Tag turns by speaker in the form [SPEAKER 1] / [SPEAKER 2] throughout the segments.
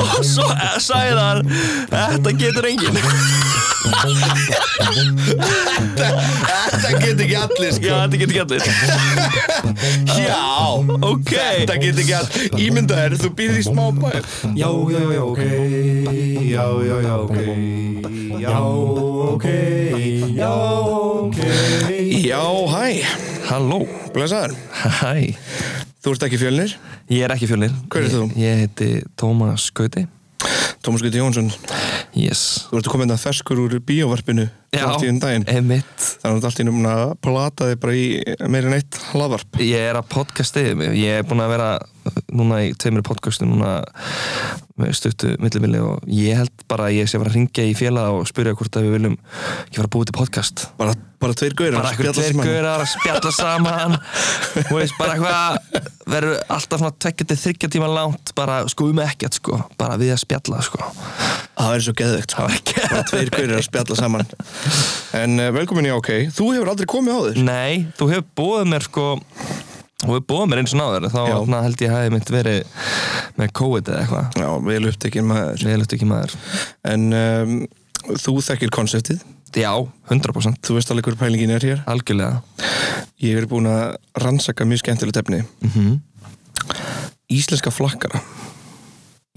[SPEAKER 1] og svo eh, sagði hann þetta getur enginn
[SPEAKER 2] Þetta get ekki allir
[SPEAKER 1] já,
[SPEAKER 2] sko
[SPEAKER 1] þetta getur ekki allir
[SPEAKER 2] Já
[SPEAKER 1] ok,
[SPEAKER 2] Þetta get ekki allir Ímynda þér, þú býrð í smá bæ
[SPEAKER 3] Já, já, já, ok Já, já, já, ok Já, ok Já, ok
[SPEAKER 2] Já, hæ,
[SPEAKER 1] halló,
[SPEAKER 2] blessaður
[SPEAKER 1] hæ
[SPEAKER 2] Þú ert ekki fjölnir
[SPEAKER 1] ég er ekki fjölnir
[SPEAKER 2] Hver ert þú?
[SPEAKER 1] Ég- ég heiti Tómas Gauti
[SPEAKER 2] Tómas Guði Jónsson,
[SPEAKER 1] yes
[SPEAKER 2] þú ert komin að hérna ferskur úr bíóvarpinu Allt í um daginn
[SPEAKER 1] emitt
[SPEAKER 2] Þannig að þú ert allt í um að plata þig bara í meirinn eitt hlaðvarp
[SPEAKER 1] ég er að podcastið mig ég er búin að vera uh, núna í tveimur podcastum núna með stuttu millimili og ég held bara að ég sé að vera að ringja í félag og spyrja hvort að við viljum ekki fara að búið til podcast
[SPEAKER 2] Bara, bara tveir gaurar
[SPEAKER 1] bara eitthvað tveir gaurar að spjalla saman þú veist bara eitthvað verður alltaf svona tvekja til þryggja tíma langt bara sko um ekkert sko bara við að spjalla sko
[SPEAKER 2] Það er svo geðvegt sko.
[SPEAKER 1] það var ekki
[SPEAKER 2] Bara tveir gaurar að spjalla saman En uh, velkomin í OK Þú hefur aldrei komið á þér
[SPEAKER 1] nei, þú hefur bóðið mér sko þú hefur bóðið mér eins og náður þá
[SPEAKER 2] Já.
[SPEAKER 1] na, held ég hafi mitt verið með COVID eða eitthvað
[SPEAKER 2] Já, vel upptekinn maður
[SPEAKER 1] við lúttu ekki maður
[SPEAKER 2] En um, þú þekkir konseptið
[SPEAKER 1] já, 100%
[SPEAKER 2] Þú veist alveg hver pælingin er hér
[SPEAKER 1] algjörlega
[SPEAKER 2] Ég er búin að rannsaka mjög skemmtilegt efni
[SPEAKER 1] mm
[SPEAKER 2] Íslenska flakkara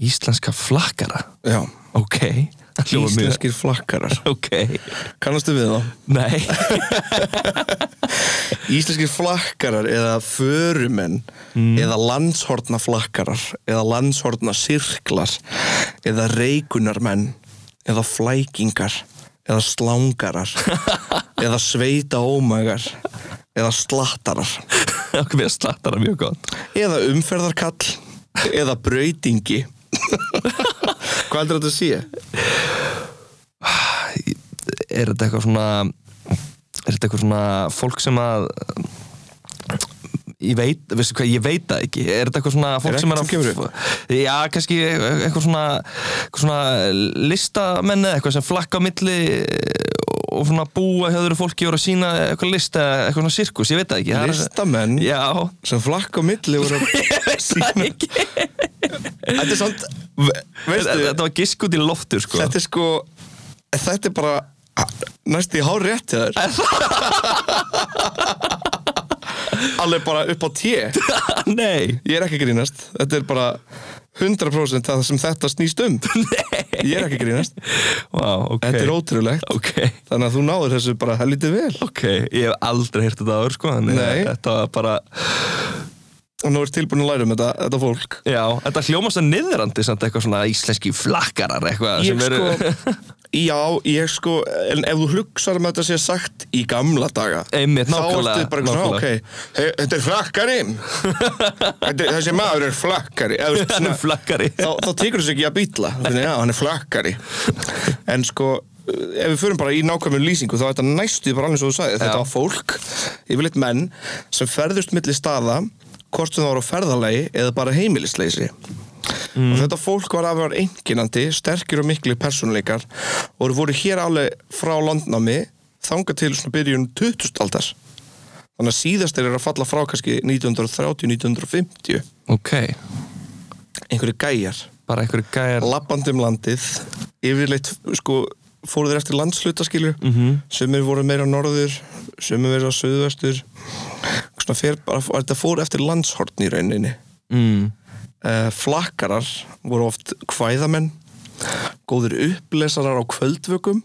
[SPEAKER 1] íslenska flakkara
[SPEAKER 2] Já,
[SPEAKER 1] ok Það hljómar mjög-
[SPEAKER 2] íslenskir flakkarar
[SPEAKER 1] ok,
[SPEAKER 2] Kannastu við þá?
[SPEAKER 1] nei
[SPEAKER 2] Íslenskir flakkarar eða förumenn
[SPEAKER 1] Mm.
[SPEAKER 2] eða landshortna flakkarar eða landshortna sirklar eða reikunarmenn eða flækingar eða slangarar eða sveita ómagar eða slattarar
[SPEAKER 1] okkur við að slattara mjög gott
[SPEAKER 2] eða umferðarkall eða brautingi Hvað heldur þetta að sé?
[SPEAKER 1] er þetta eitthvað svona er þetta eitthvað svona fólk sem að ég veit, veistu hvað, ég veit það ekki er þetta eitthvað svona fólk
[SPEAKER 2] Er
[SPEAKER 1] sem er
[SPEAKER 2] ekkert sem kemur
[SPEAKER 1] að já, kannski eitthvað svona, eitthvað svona listamenn eða eitthvað sem flakka á milli og svona búa hjá öðru fólki og eru að sína eitthvað lista, eitthvað svona sirkus, ég veit það ekki Það er-
[SPEAKER 2] Listamenn
[SPEAKER 1] já,
[SPEAKER 2] sem flakka á milli voru að...
[SPEAKER 1] ég veit það ekki
[SPEAKER 2] Þetta er samt, ve-
[SPEAKER 1] þetta
[SPEAKER 2] veistu,
[SPEAKER 1] þetta var gisk út í loftur sko.
[SPEAKER 2] þetta er sko þetta er bara næst í hár rétt hjá þér alveg bara upp á tí ég
[SPEAKER 1] nei
[SPEAKER 2] er ekki að grínast þetta er bara 100% það sem þetta snýst um ég er ekki að grínast
[SPEAKER 1] wow, ok,
[SPEAKER 2] þetta er ótrúlegt
[SPEAKER 1] ok
[SPEAKER 2] þannig að þú náður þessu bara helviti vel
[SPEAKER 1] Ok, ég hef aldrei heyrt þetta aður sko Þannig að
[SPEAKER 2] Nei.
[SPEAKER 1] þetta var bara
[SPEAKER 2] og nú er tilbúin að læra um þetta, þetta fólk
[SPEAKER 1] Já, þetta hljómast að niðrandi samt eitthvað svona íslenski flakkarar eitthvað
[SPEAKER 2] ég
[SPEAKER 1] sem eru
[SPEAKER 2] sko já, ég sko, en ef þú hugsar um að þetta sé sagt í gamla daga
[SPEAKER 1] Einmitt,
[SPEAKER 2] þá ertu
[SPEAKER 1] nákvæmlega,
[SPEAKER 2] bara eitthvað svona, ok
[SPEAKER 1] nákvæmlega.
[SPEAKER 2] he, þetta er flakkari Þetta er- þessi maður er flakkari Eða, þú veist,
[SPEAKER 1] Hann
[SPEAKER 2] svona,
[SPEAKER 1] er flakkari
[SPEAKER 2] þá, þá tekur þessu ekki að býtla þannig, já, hann er flakkari en sko, ef við förum bara í nákvæmum lýsingu þá er þetta næstuð bara alveg svo þú sagði þetta
[SPEAKER 1] Já.
[SPEAKER 2] var fólk, yfirleitt menn sem ferðust milli staða hvort sem það var á ferðalagi eða bara heimilisleysi og þetta fólk var afar einkinandi, sterkir og miklu persónuleikar og voru hér alveg frá landnámi þanga til svona byrjun 2000 aldar þannig að síðast þeir eru að falla frá kannski 1930-1950
[SPEAKER 1] Ok,
[SPEAKER 2] einhverju gæjar
[SPEAKER 1] bara einhverju gæjar
[SPEAKER 2] lappandi um landið yfirleitt sko fóru þeir eftir landslutaskilju mm -hmm. sumir voru meira norður sumir meira söðvestur svona fer bara, þetta fóru eftir landshortn í rauninni
[SPEAKER 1] mm.
[SPEAKER 2] uh, flakkarar voru oft kvæðamenn góðir upplesarar á kvöldvökum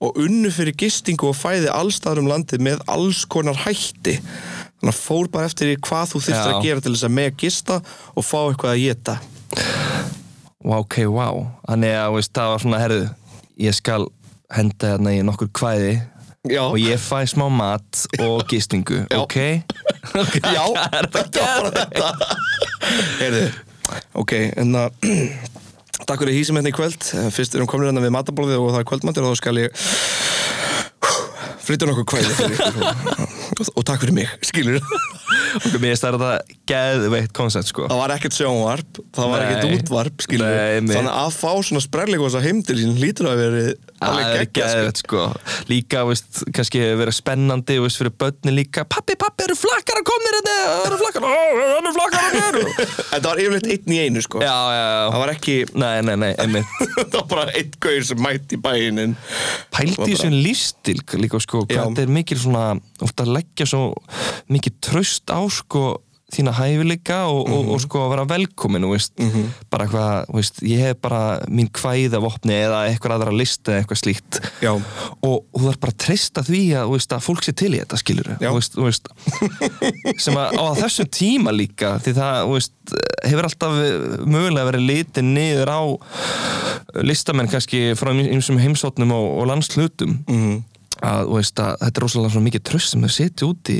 [SPEAKER 2] og unnu fyrir gistingu og fæði allstaðar um landið með alls konar hætti þannig að fór bara eftir því hvað þú þyrftir
[SPEAKER 1] Já.
[SPEAKER 2] að gera til þess að mega gista og fá eitthvað að geta
[SPEAKER 1] Wow, ok, wow Þannig að veist, það var svona, herðu Ég skal henda þarna í nokkur kvæði
[SPEAKER 2] Já.
[SPEAKER 1] Og ég fæ smá mat og gistingu
[SPEAKER 2] Já.
[SPEAKER 1] Ok Ok,
[SPEAKER 2] Já,
[SPEAKER 1] það er
[SPEAKER 2] þetta var bara þetta Heyrðu, ok, en að Takk fyrir hísum hérna í kvöld Fyrst erum komin hérna við matabólðið og það er kvöldmantir og þá skal ég flytja nokkuð kvæði fyrir ykkur og, og takk fyrir mig, skilur
[SPEAKER 1] okkur mér stærði það geðveitt koncept sko
[SPEAKER 2] Það var ekkert sjónvarp, það var
[SPEAKER 1] Nei.
[SPEAKER 2] ekkert útvarp, skilju.
[SPEAKER 1] Nei, einmitt.
[SPEAKER 2] Þannig að fá svona sprelligosa heim til sín lítur að verið
[SPEAKER 1] Það
[SPEAKER 2] alveg
[SPEAKER 1] er
[SPEAKER 2] geggja, sko.
[SPEAKER 1] geðveitt sko Líka, veist, kannski hefur verið spennandi veist, fyrir börnin líka, pappi, pappi, eru flakkar að komnir þetta, eru flakkar ó, hann er flakkar að mér
[SPEAKER 2] Þetta var yfirleitt einn í einu, sko.
[SPEAKER 1] Já, já,
[SPEAKER 2] Það
[SPEAKER 1] já
[SPEAKER 2] var ekki,
[SPEAKER 1] Nei, nei, nei, einmitt
[SPEAKER 2] það var bara einn gauður sem mætti í bæinin.
[SPEAKER 1] pældi í þessum lífstil líka sko, hvað
[SPEAKER 2] Já.
[SPEAKER 1] þetta er mikil svona ofta að leggja svo mikið tröst á sko þína hæfileika og,
[SPEAKER 2] Mhm.
[SPEAKER 1] og, og sko að vera velkomin þú veist, bara eitthvað þú veist, ég hef bara mín kvæðavopni eða eitthvað aðra list eða eitthvað slíkt
[SPEAKER 2] Já.
[SPEAKER 1] og þú þarf bara að treysta því að, þú veist, að fólk sé til í þetta skilur
[SPEAKER 2] Já.
[SPEAKER 1] veist, þú veist, sem að á þessum tíma líka því það þú veist, hefur alltaf mögulega verið litið niður á listamenn kannski frá einsum heimsóknum og, og landslutum
[SPEAKER 2] Mhm.
[SPEAKER 1] að, þú veist, að þetta er rosalega svona mikið tröst sem þau setja út í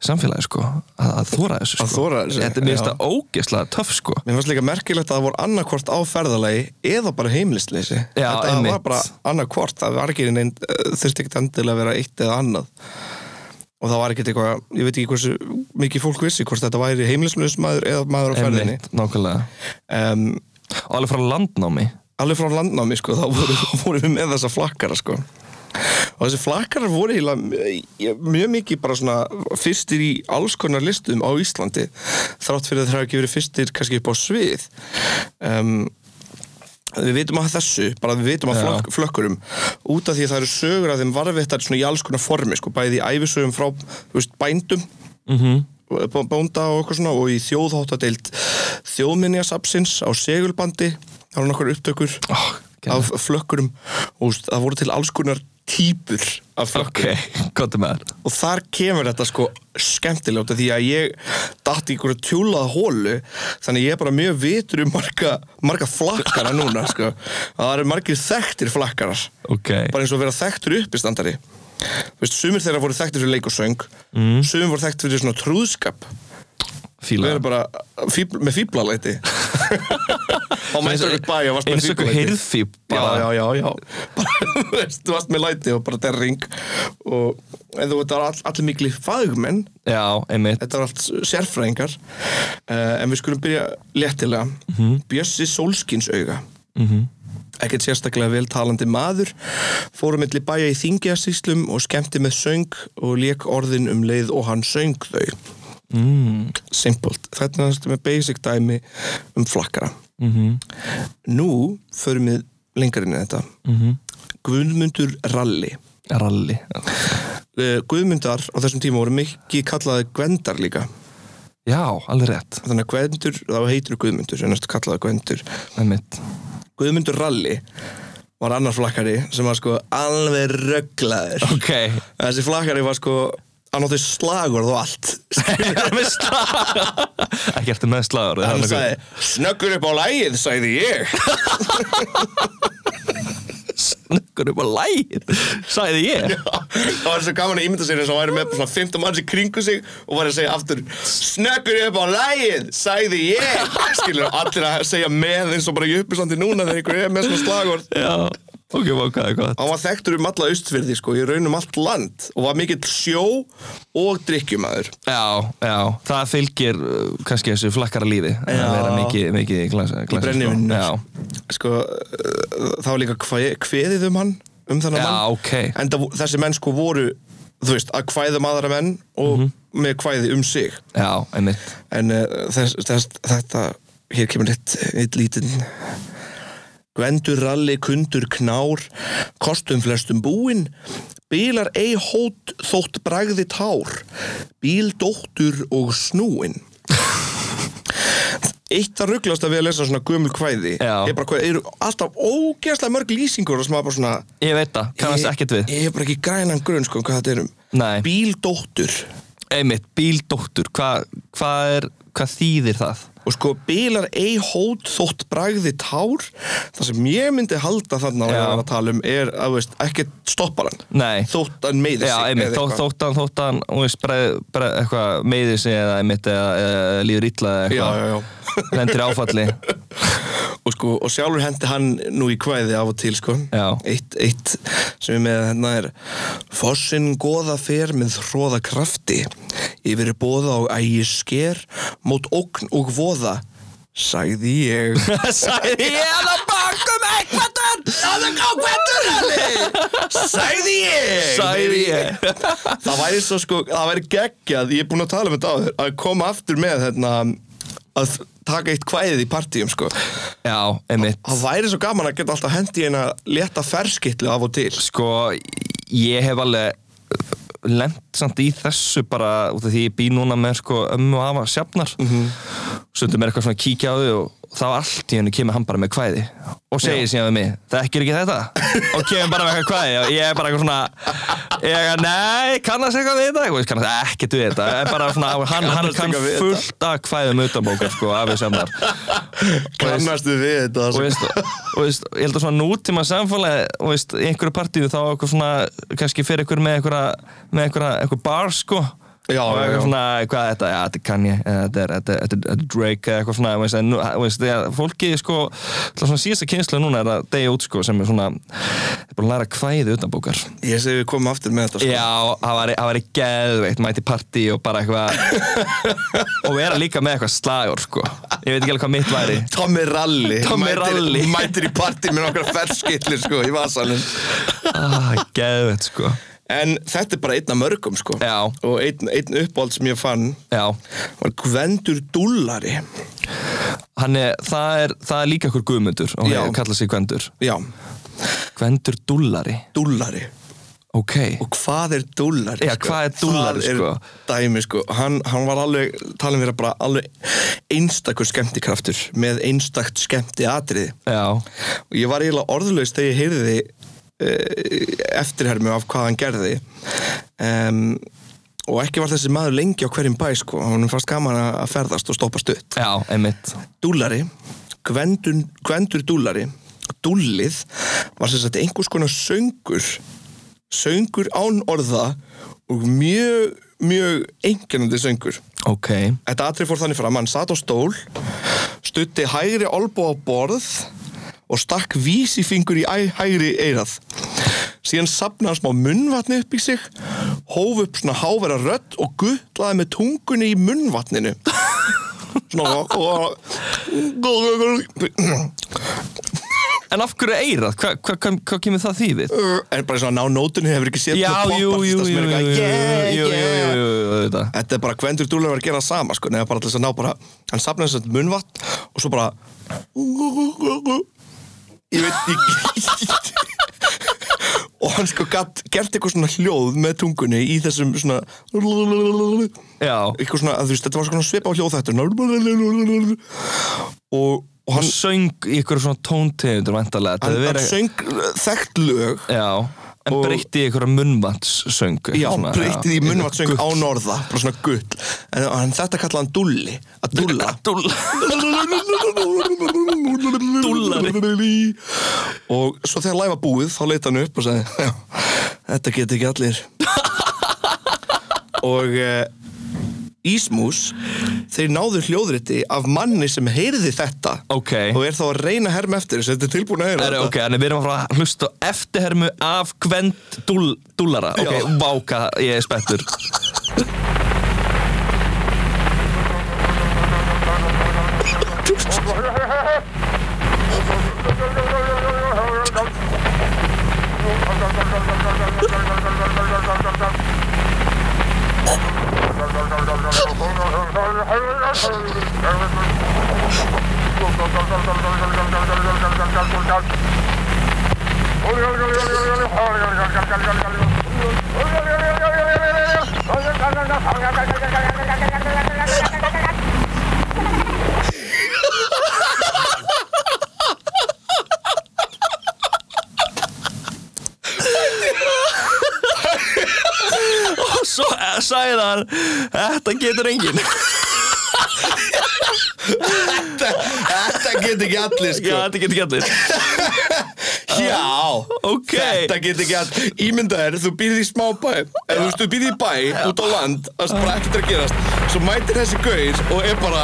[SPEAKER 1] samfélagi sko, að, að þóra þessu sko.
[SPEAKER 2] Að þora þessu,
[SPEAKER 1] þetta er mér
[SPEAKER 2] já.
[SPEAKER 1] þetta ógeðslega töff sko
[SPEAKER 2] Mér fannst líka merkilegt að það voru annarkvort á ferðalagi eða bara heimlisleysi.
[SPEAKER 1] Já,
[SPEAKER 2] Þetta
[SPEAKER 1] einmitt.
[SPEAKER 2] var bara annarkvort, það var ekki neinn, eh, þurfti ekkert endilega að vera eitt eða annað. Og það var ekkert eitthvað, ég veit ekki hversu mikið fólk vissi hvort þetta væri heimlislausmaður eða maður á ferðinni.
[SPEAKER 1] Einmitt, nákvæmlega
[SPEAKER 2] Um,
[SPEAKER 1] og alveg frá landnámi
[SPEAKER 2] alveg frá landnámi, sko, þá voru, voru við með þessa flakkara, sko. Og þessi flakkarar voru heila mjög mikið bara svona fyrstir í alls konar listum á Íslandi þrátt fyrir að þeir hafa ekki verið fyrstir kannski upp á svið. Um, við vitum að þessu, bara við vitum að
[SPEAKER 1] Já.
[SPEAKER 2] flökk, flökkurum út af því að það eru sögur að þeim varðvittar svona í alls konar formi, sko, bæði í æfisögum frá þú veist, bændum
[SPEAKER 1] mm -hmm.
[SPEAKER 2] bó- bónda og eitthvað svona og í þjóðháttadeild þjóðminjasapsins á segulbandi, það eru nokkur upptökur af flökkurum og úst, það voru til alls konar típur af
[SPEAKER 1] ok,
[SPEAKER 2] flökkurum
[SPEAKER 1] gott með það
[SPEAKER 2] og þar kemur þetta sko skemmtilega út af því að ég datt í einhverju tjúlaða hólu þannig ég er bara mjög vitur um marga, marga flakkara núna sko. það eru margir þekktir flakkarar
[SPEAKER 1] ok,
[SPEAKER 2] bara eins og að vera þekktur uppistandari Þú veist, sumir þeirra voru þekktir fyrir leik og söng mm. sumir voru þekktir fyrir svona trúðskap við
[SPEAKER 1] fíla
[SPEAKER 2] erum bara fíbl, með fíblalæti og mættur okkur bæja varst með
[SPEAKER 1] eins og okkur
[SPEAKER 2] fíblalæti
[SPEAKER 1] hirðfíb
[SPEAKER 2] já,
[SPEAKER 1] bara
[SPEAKER 2] já, já, já bara, þú veist, þú varst með læti og bara derring og en þú veit, það var all, allir miklu fagmenn
[SPEAKER 1] já, einmitt
[SPEAKER 2] þetta var allt sérfræðingar uh, en við skulum byrja léttilega Bjössi Sólskins auga ekkert sérstaklega vel talandi maður fórum milli bæja í þingjasíslum og skemmti með söng og lék orðin um leið og hann söng þau
[SPEAKER 1] mm.
[SPEAKER 2] simpult, þetta er þetta með basic dæmi um flakkara
[SPEAKER 1] Mm
[SPEAKER 2] nú förum við lengar inn í þetta Guðmundur Ralli
[SPEAKER 1] rally
[SPEAKER 2] Eh, Guðmundar á þessum tíma voru mikið kallaði Gvendar líka
[SPEAKER 1] já, alveg rétt,
[SPEAKER 2] þannig að Gvendur, þá heitur Guðmundur en næstu kallaði Gvendur
[SPEAKER 1] einmitt
[SPEAKER 2] Guðmundur Ralli var annar flakkari sem var sko alveg rögglaður
[SPEAKER 1] ok,
[SPEAKER 2] þessi flakkari var sko hann átti slagorð og allt
[SPEAKER 1] með slag ekki ertu með slagur
[SPEAKER 2] hann sagði, snöggur upp á lægið sagði ég
[SPEAKER 1] snökkur upp á lægin sagði ég
[SPEAKER 2] það var svo gaman að ímynda sér þess að hann væri með svona 15 manns í kringu sig og var að segja aftur snöggur upp á lægið, sagði ég skilur allir að segja með eins og bara ég uppistandi núna þegar einhver er með svona slagorð
[SPEAKER 1] já, ok, vákaði gott
[SPEAKER 2] hann var þekktur um alla austfyrði sko, í raunum allt land og var mikill sjó og drikkjumæður
[SPEAKER 1] Já, já, það fylgir uh, kannski þessu flakkara lífi að
[SPEAKER 2] Já.
[SPEAKER 1] vera mikið, mikið í glasa, glasa
[SPEAKER 2] brennivíni.
[SPEAKER 1] Já,
[SPEAKER 2] sko, uh, það var líka kvæ- kveðið um hann um þennan
[SPEAKER 1] já,
[SPEAKER 2] mann
[SPEAKER 1] ok
[SPEAKER 2] en það, þessi menn sko voru þú veist, að kvæða um aðra menn og
[SPEAKER 1] Mhm.
[SPEAKER 2] með kvæði um sig
[SPEAKER 1] Já, einmitt
[SPEAKER 2] en uh, þess, þess, þetta hér kemur eitt, eitt lítinn Gvendur ralli kundur knár kostum flestum búinn bílar ei hót þótt bragði tár bíldóttur og snúinn Eitt að rugglast að við að lesa svona gömul kvæði
[SPEAKER 1] Já.
[SPEAKER 2] er bara hvað, eru alltaf ógeðslega mörg lýsingur og sem að bara svona
[SPEAKER 1] Ég veit það, kannast ekkert við
[SPEAKER 2] Ég er bara ekki grænan grunn sko um hvað þetta er um
[SPEAKER 1] Nei,
[SPEAKER 2] Bíldóttur
[SPEAKER 1] einmitt, bíldóttur Hvað hva er, hvað þýðir það?
[SPEAKER 2] og sko bílar ei hót þótt bragði tár það sem ég myndi halda þarna á
[SPEAKER 1] Já.
[SPEAKER 2] ég var að tala um er að veist, ekki stoppar hann
[SPEAKER 1] Nei
[SPEAKER 2] þótt hann meiði sig
[SPEAKER 1] Já, einmitt,
[SPEAKER 2] eða
[SPEAKER 1] þó,
[SPEAKER 2] eitthvað.
[SPEAKER 1] þóttan, þóttan, hún veist, breið, breið, eitthvað meiði sig eða einmitt eða, eða líður illa eða
[SPEAKER 2] Já,
[SPEAKER 1] eitthvað
[SPEAKER 2] já, já.
[SPEAKER 1] Lendir í áfalli
[SPEAKER 2] og, sko, og sjálfur hendi hann nú í kvæði af og til sko.
[SPEAKER 1] Já.
[SPEAKER 2] eitt, eitt sem er með hérna er Fossinn goða fer með hróða krafti yfir bóða og ægi sker mót ógn og voða sagði ég
[SPEAKER 1] Sæði ég
[SPEAKER 2] að
[SPEAKER 1] um
[SPEAKER 2] bakum ekvator það er ákvættur sagði ég
[SPEAKER 1] Sagði ég.
[SPEAKER 2] það væri svo sko það væri geggjað, ég er búinn að tala um þetta áður að koma aftur með hérna að taka eitt kvæðið í partíum sko
[SPEAKER 1] Já, einmitt
[SPEAKER 2] það væri svo gaman að geta alltaf hendi eina leta ferskitlu af og til
[SPEAKER 1] Sko, ég hef alveg lent samt í þessu bara út af því ég bý núna með sko ömmu og afa sjafnar
[SPEAKER 2] Mhm.
[SPEAKER 1] stundum er eitthvað svona að kíkja á þau og þá allt í hennu kemur hann bara með kvæði og segir síðan við mig, þekkir ekki þetta og kemur bara með eitthvað kvæði og ég er bara eitthvað svona ég er eitthvað, nei, kannast eitthvað við þetta ég veist, kannast ekkert við þetta Ég er bara svona, hann, hann
[SPEAKER 2] Kannast
[SPEAKER 1] kann
[SPEAKER 2] eitthvað við þetta.
[SPEAKER 1] fullt af kvæðum utanbókar sko, af við sjafnar
[SPEAKER 2] kannastu við þetta
[SPEAKER 1] og,
[SPEAKER 2] sko.
[SPEAKER 1] veist, og veist, ég held að svona nútíma samfélagi og veist, í einhverju partíu þá okkur svona, kannski fyrir ykkur með einhverja með einhverja, einhver bar sko
[SPEAKER 2] Já,
[SPEAKER 1] og
[SPEAKER 2] já,
[SPEAKER 1] eitthvað
[SPEAKER 2] já.
[SPEAKER 1] svona, hvað er þetta, já, þetta er Kanye eða þetta er, þetta er, þetta er, þetta er Drake eða eitthvað svona, þú veist, en nú- þú veist, þegar fólki sko, til að svona síðasta kynslu núna er að degja út sko, sem er svona er búin að læra kvæði utan bókar
[SPEAKER 2] ég segi við komum aftur með þetta sko.
[SPEAKER 1] Já, það væri, það væri geðveitt mæti partí og bara eitthvað og vera líka með eitthvað slagur sko. ég veit ekki alveg hvað mitt væri
[SPEAKER 2] Tommy Rally
[SPEAKER 1] Tommy
[SPEAKER 2] mætir,
[SPEAKER 1] Rally.
[SPEAKER 2] mætir í partí með nokkra ferskitlu sko, í vasalinn
[SPEAKER 1] ah, geðveitt sko
[SPEAKER 2] en þetta er bara einn af mörgum sko.
[SPEAKER 1] Já.
[SPEAKER 2] og einn, einn uppáld sem ég fann
[SPEAKER 1] Já,
[SPEAKER 2] var Gvendur Dúllari
[SPEAKER 1] hann er, það er, það er líka okkur guðmundur og
[SPEAKER 2] Já.
[SPEAKER 1] hann kallar sig Gvendur.
[SPEAKER 2] já,
[SPEAKER 1] Gvendur Dullari,
[SPEAKER 2] Dúllari
[SPEAKER 1] ok.
[SPEAKER 2] og hvað er Dúllari?
[SPEAKER 1] Já, hvað er Dúllari,
[SPEAKER 2] Það er
[SPEAKER 1] sko?
[SPEAKER 2] dæmi sko, hann, hann var alveg talin vera bara alveg einstakur skemmtikraftur með einstakt skemmti atriði
[SPEAKER 1] Já,
[SPEAKER 2] og ég var eiginlega orðlaus þegar ég heyrði uh, eftirhermu af hvað hann gerði um, og ekki var þessi maður lengi á hverjum bæ sko, hann fannst gaman að að ferðast og stoppa stutt
[SPEAKER 1] já, einmitt.
[SPEAKER 2] Dúllari, Gvendur, Gvendur Dúllari, Dúllið var sem sagt einhvers konar söngur, söngur án orða og mjög, mjög einkennandi söngur.
[SPEAKER 1] Ok,
[SPEAKER 2] Þetta atrið fór þannig fram, hann satt á stól, stutti hægri olbú á borð og stakk vísifingur í æ- hægri eirað. Síðan sapnaði hann smá munnvatni upp í sig, hóf upp svona hávera rödd og guttlaði með tungunni í munnvatninu. Svona og... og
[SPEAKER 1] en af hverju eirað, hvað hva, hva, hva kemur það því við?
[SPEAKER 2] en bara svona ná nótunni hefur ekki séð
[SPEAKER 1] Já,
[SPEAKER 2] poppartista
[SPEAKER 1] jú, jú, jú,
[SPEAKER 2] sem
[SPEAKER 1] jú, jú,
[SPEAKER 2] er eitthvað,
[SPEAKER 1] jú,
[SPEAKER 2] yeah,
[SPEAKER 1] jú, jú,
[SPEAKER 2] yeah.
[SPEAKER 1] jú, jú, jú,
[SPEAKER 2] Þetta er bara Gvendur Dúlur var að gera það sama sko, neða bara til þess að ná bara hann safnaði þess að munvatt og svo bara ég veit ekki og hann sko gatt, gert eitthvað svona hljóð með tungunni í þessum svona eitthvað
[SPEAKER 1] já,
[SPEAKER 2] svona, að þú veist, þetta var svona svipa á hljóð þetta og, og
[SPEAKER 1] hann
[SPEAKER 2] hann,
[SPEAKER 1] söng í ykkur svona tóntegundur vantarlega,
[SPEAKER 2] hann,
[SPEAKER 1] þetta
[SPEAKER 2] hann
[SPEAKER 1] verið,
[SPEAKER 2] söng þekkt lög
[SPEAKER 1] já, en
[SPEAKER 2] Og-
[SPEAKER 1] breytti í ykkur munnvatnssöngu.
[SPEAKER 2] Já,
[SPEAKER 1] svona,
[SPEAKER 2] breytið í
[SPEAKER 1] já.
[SPEAKER 2] munnvatnsöng
[SPEAKER 1] Gull.
[SPEAKER 2] á norða bara svona gull en hann, þetta kallaði hann dulli að dulla
[SPEAKER 1] Dúlla.
[SPEAKER 2] Dúllari Og svo þegar læfa búið þá leita hann upp og sagði "Já, Þetta get ekki allir Og uh, Ísmús Þeir náðu hljóðriti af manni sem heyrði þetta
[SPEAKER 1] Ok.
[SPEAKER 2] Og er þá að reyna að herma eftir þessu Þetta er tilbúin að heyra
[SPEAKER 1] Er, ok, þannig við erum að fara að hlusta á eftirhermu af Gvend dúl, Dúllara
[SPEAKER 2] Já.
[SPEAKER 1] Ok, váka, ég er spettur Og svo eh, sagði hann Þetta getur enginn
[SPEAKER 2] Þetta get ekki allir
[SPEAKER 1] Já,
[SPEAKER 2] sko.
[SPEAKER 1] þetta getur ekki allir
[SPEAKER 2] Já,
[SPEAKER 1] Ok.
[SPEAKER 2] þetta get ekki allir Ímynda þér, þú býrð í smábæ Ef þú veist, þú býrð í bæ, út á land Það er bara ekkert að gerast Svo mætir þessi gaur og er bara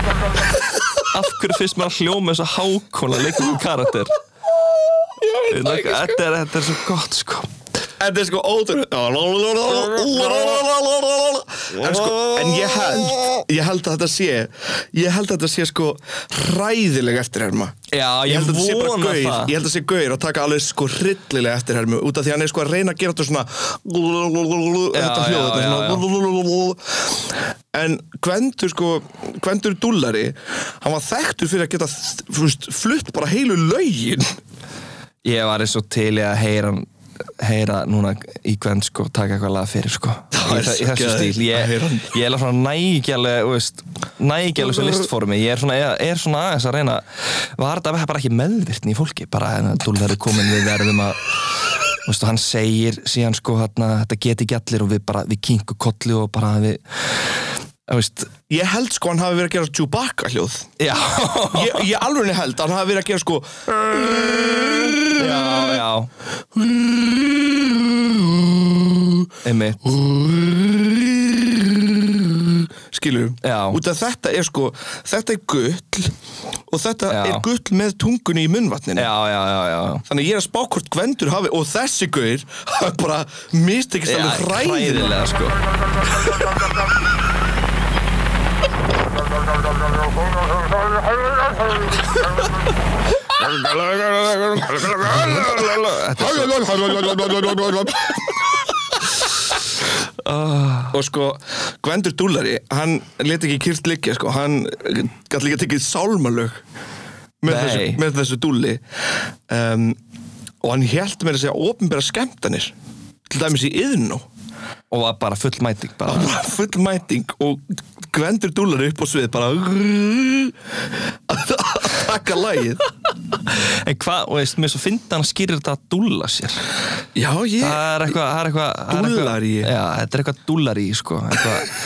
[SPEAKER 1] af hverju finnst maður að hljóma þess að hákóla leikum um karakter þetta þetta er, þetta er svo gott sko
[SPEAKER 2] oh Þetta er sko ótrúlega En sko, en ég held Ég held að þetta sé Ég held að þetta sé sko hræðileg eftirherma
[SPEAKER 1] Já, ég
[SPEAKER 2] Ég held að þetta sé bara
[SPEAKER 1] vona
[SPEAKER 2] gaur
[SPEAKER 1] það.
[SPEAKER 2] Ég held að þetta sé gaur að taka alveg sko hryllilega eftirhermu Út af því að hann er sko að reyna að gera þetta svona Þetta
[SPEAKER 1] já,
[SPEAKER 2] hljóð
[SPEAKER 1] já, já.
[SPEAKER 2] Þetta svona En Gvendur sko Gvendur Dúllari Hann var þekktur fyrir að geta þú veist, flutt bara heilu lögin
[SPEAKER 1] ég var eins og til í að heyra hann- heyra núna í Gvend sko taka eitthvað lag fyrir sko í,
[SPEAKER 2] Það
[SPEAKER 1] þa- í
[SPEAKER 2] er svo
[SPEAKER 1] þessu stíl
[SPEAKER 2] geðveikt að
[SPEAKER 1] ég,
[SPEAKER 2] heyra hann.
[SPEAKER 1] ég er alveg svona nægjalega þú veist, nægjalega sem listformi ég er svona, ég er svona aðeins að reyna var þetta bara ekki meðvirtni í fólki bara en að dúlverðu komin við verðum að þú veist, og hann segir síðan sko þarna, þetta geti ekki allir og við bara við kinkum kollu og bara við þú veist,
[SPEAKER 2] Ég held sko hann hafi verið að gera Chewbacca hljóð
[SPEAKER 1] já
[SPEAKER 2] Ég, ég alveg held að hann hafi verið að gera sko
[SPEAKER 1] já, já einmitt
[SPEAKER 2] skilur
[SPEAKER 1] Já.
[SPEAKER 2] út af þetta er sko þetta er gull og þetta
[SPEAKER 1] Já.
[SPEAKER 2] er gull með tungunni í munnvatninu
[SPEAKER 1] já, já, já, já.
[SPEAKER 2] þannig að ég er að spá hvort Gvendur hafi og þessi guður hafi bara mistekist alveg hræðilega
[SPEAKER 1] sko
[SPEAKER 2] og sko Gvendur Dúlari hann let ekki kýrt liggja sko hann gæti líka tekið sálmalög með,
[SPEAKER 1] Nei.
[SPEAKER 2] þessu, með þessu dúli um, og hann held með að segja ofnbæra skemmtanir til dæmis í yðnú
[SPEAKER 1] og var bara full mæting bara.
[SPEAKER 2] bara full mæting og Gvendur dúlar upp á svið bara að taka lagið
[SPEAKER 1] en hvað, og veist, mér svo fyndi hann skýrir þetta að dúlla sér
[SPEAKER 2] já ég
[SPEAKER 1] það er eitthvað það er eitthvað- það er eitthvað-
[SPEAKER 2] Dúllarí.
[SPEAKER 1] já, þetta er eitthvað dúllari sko eitthvað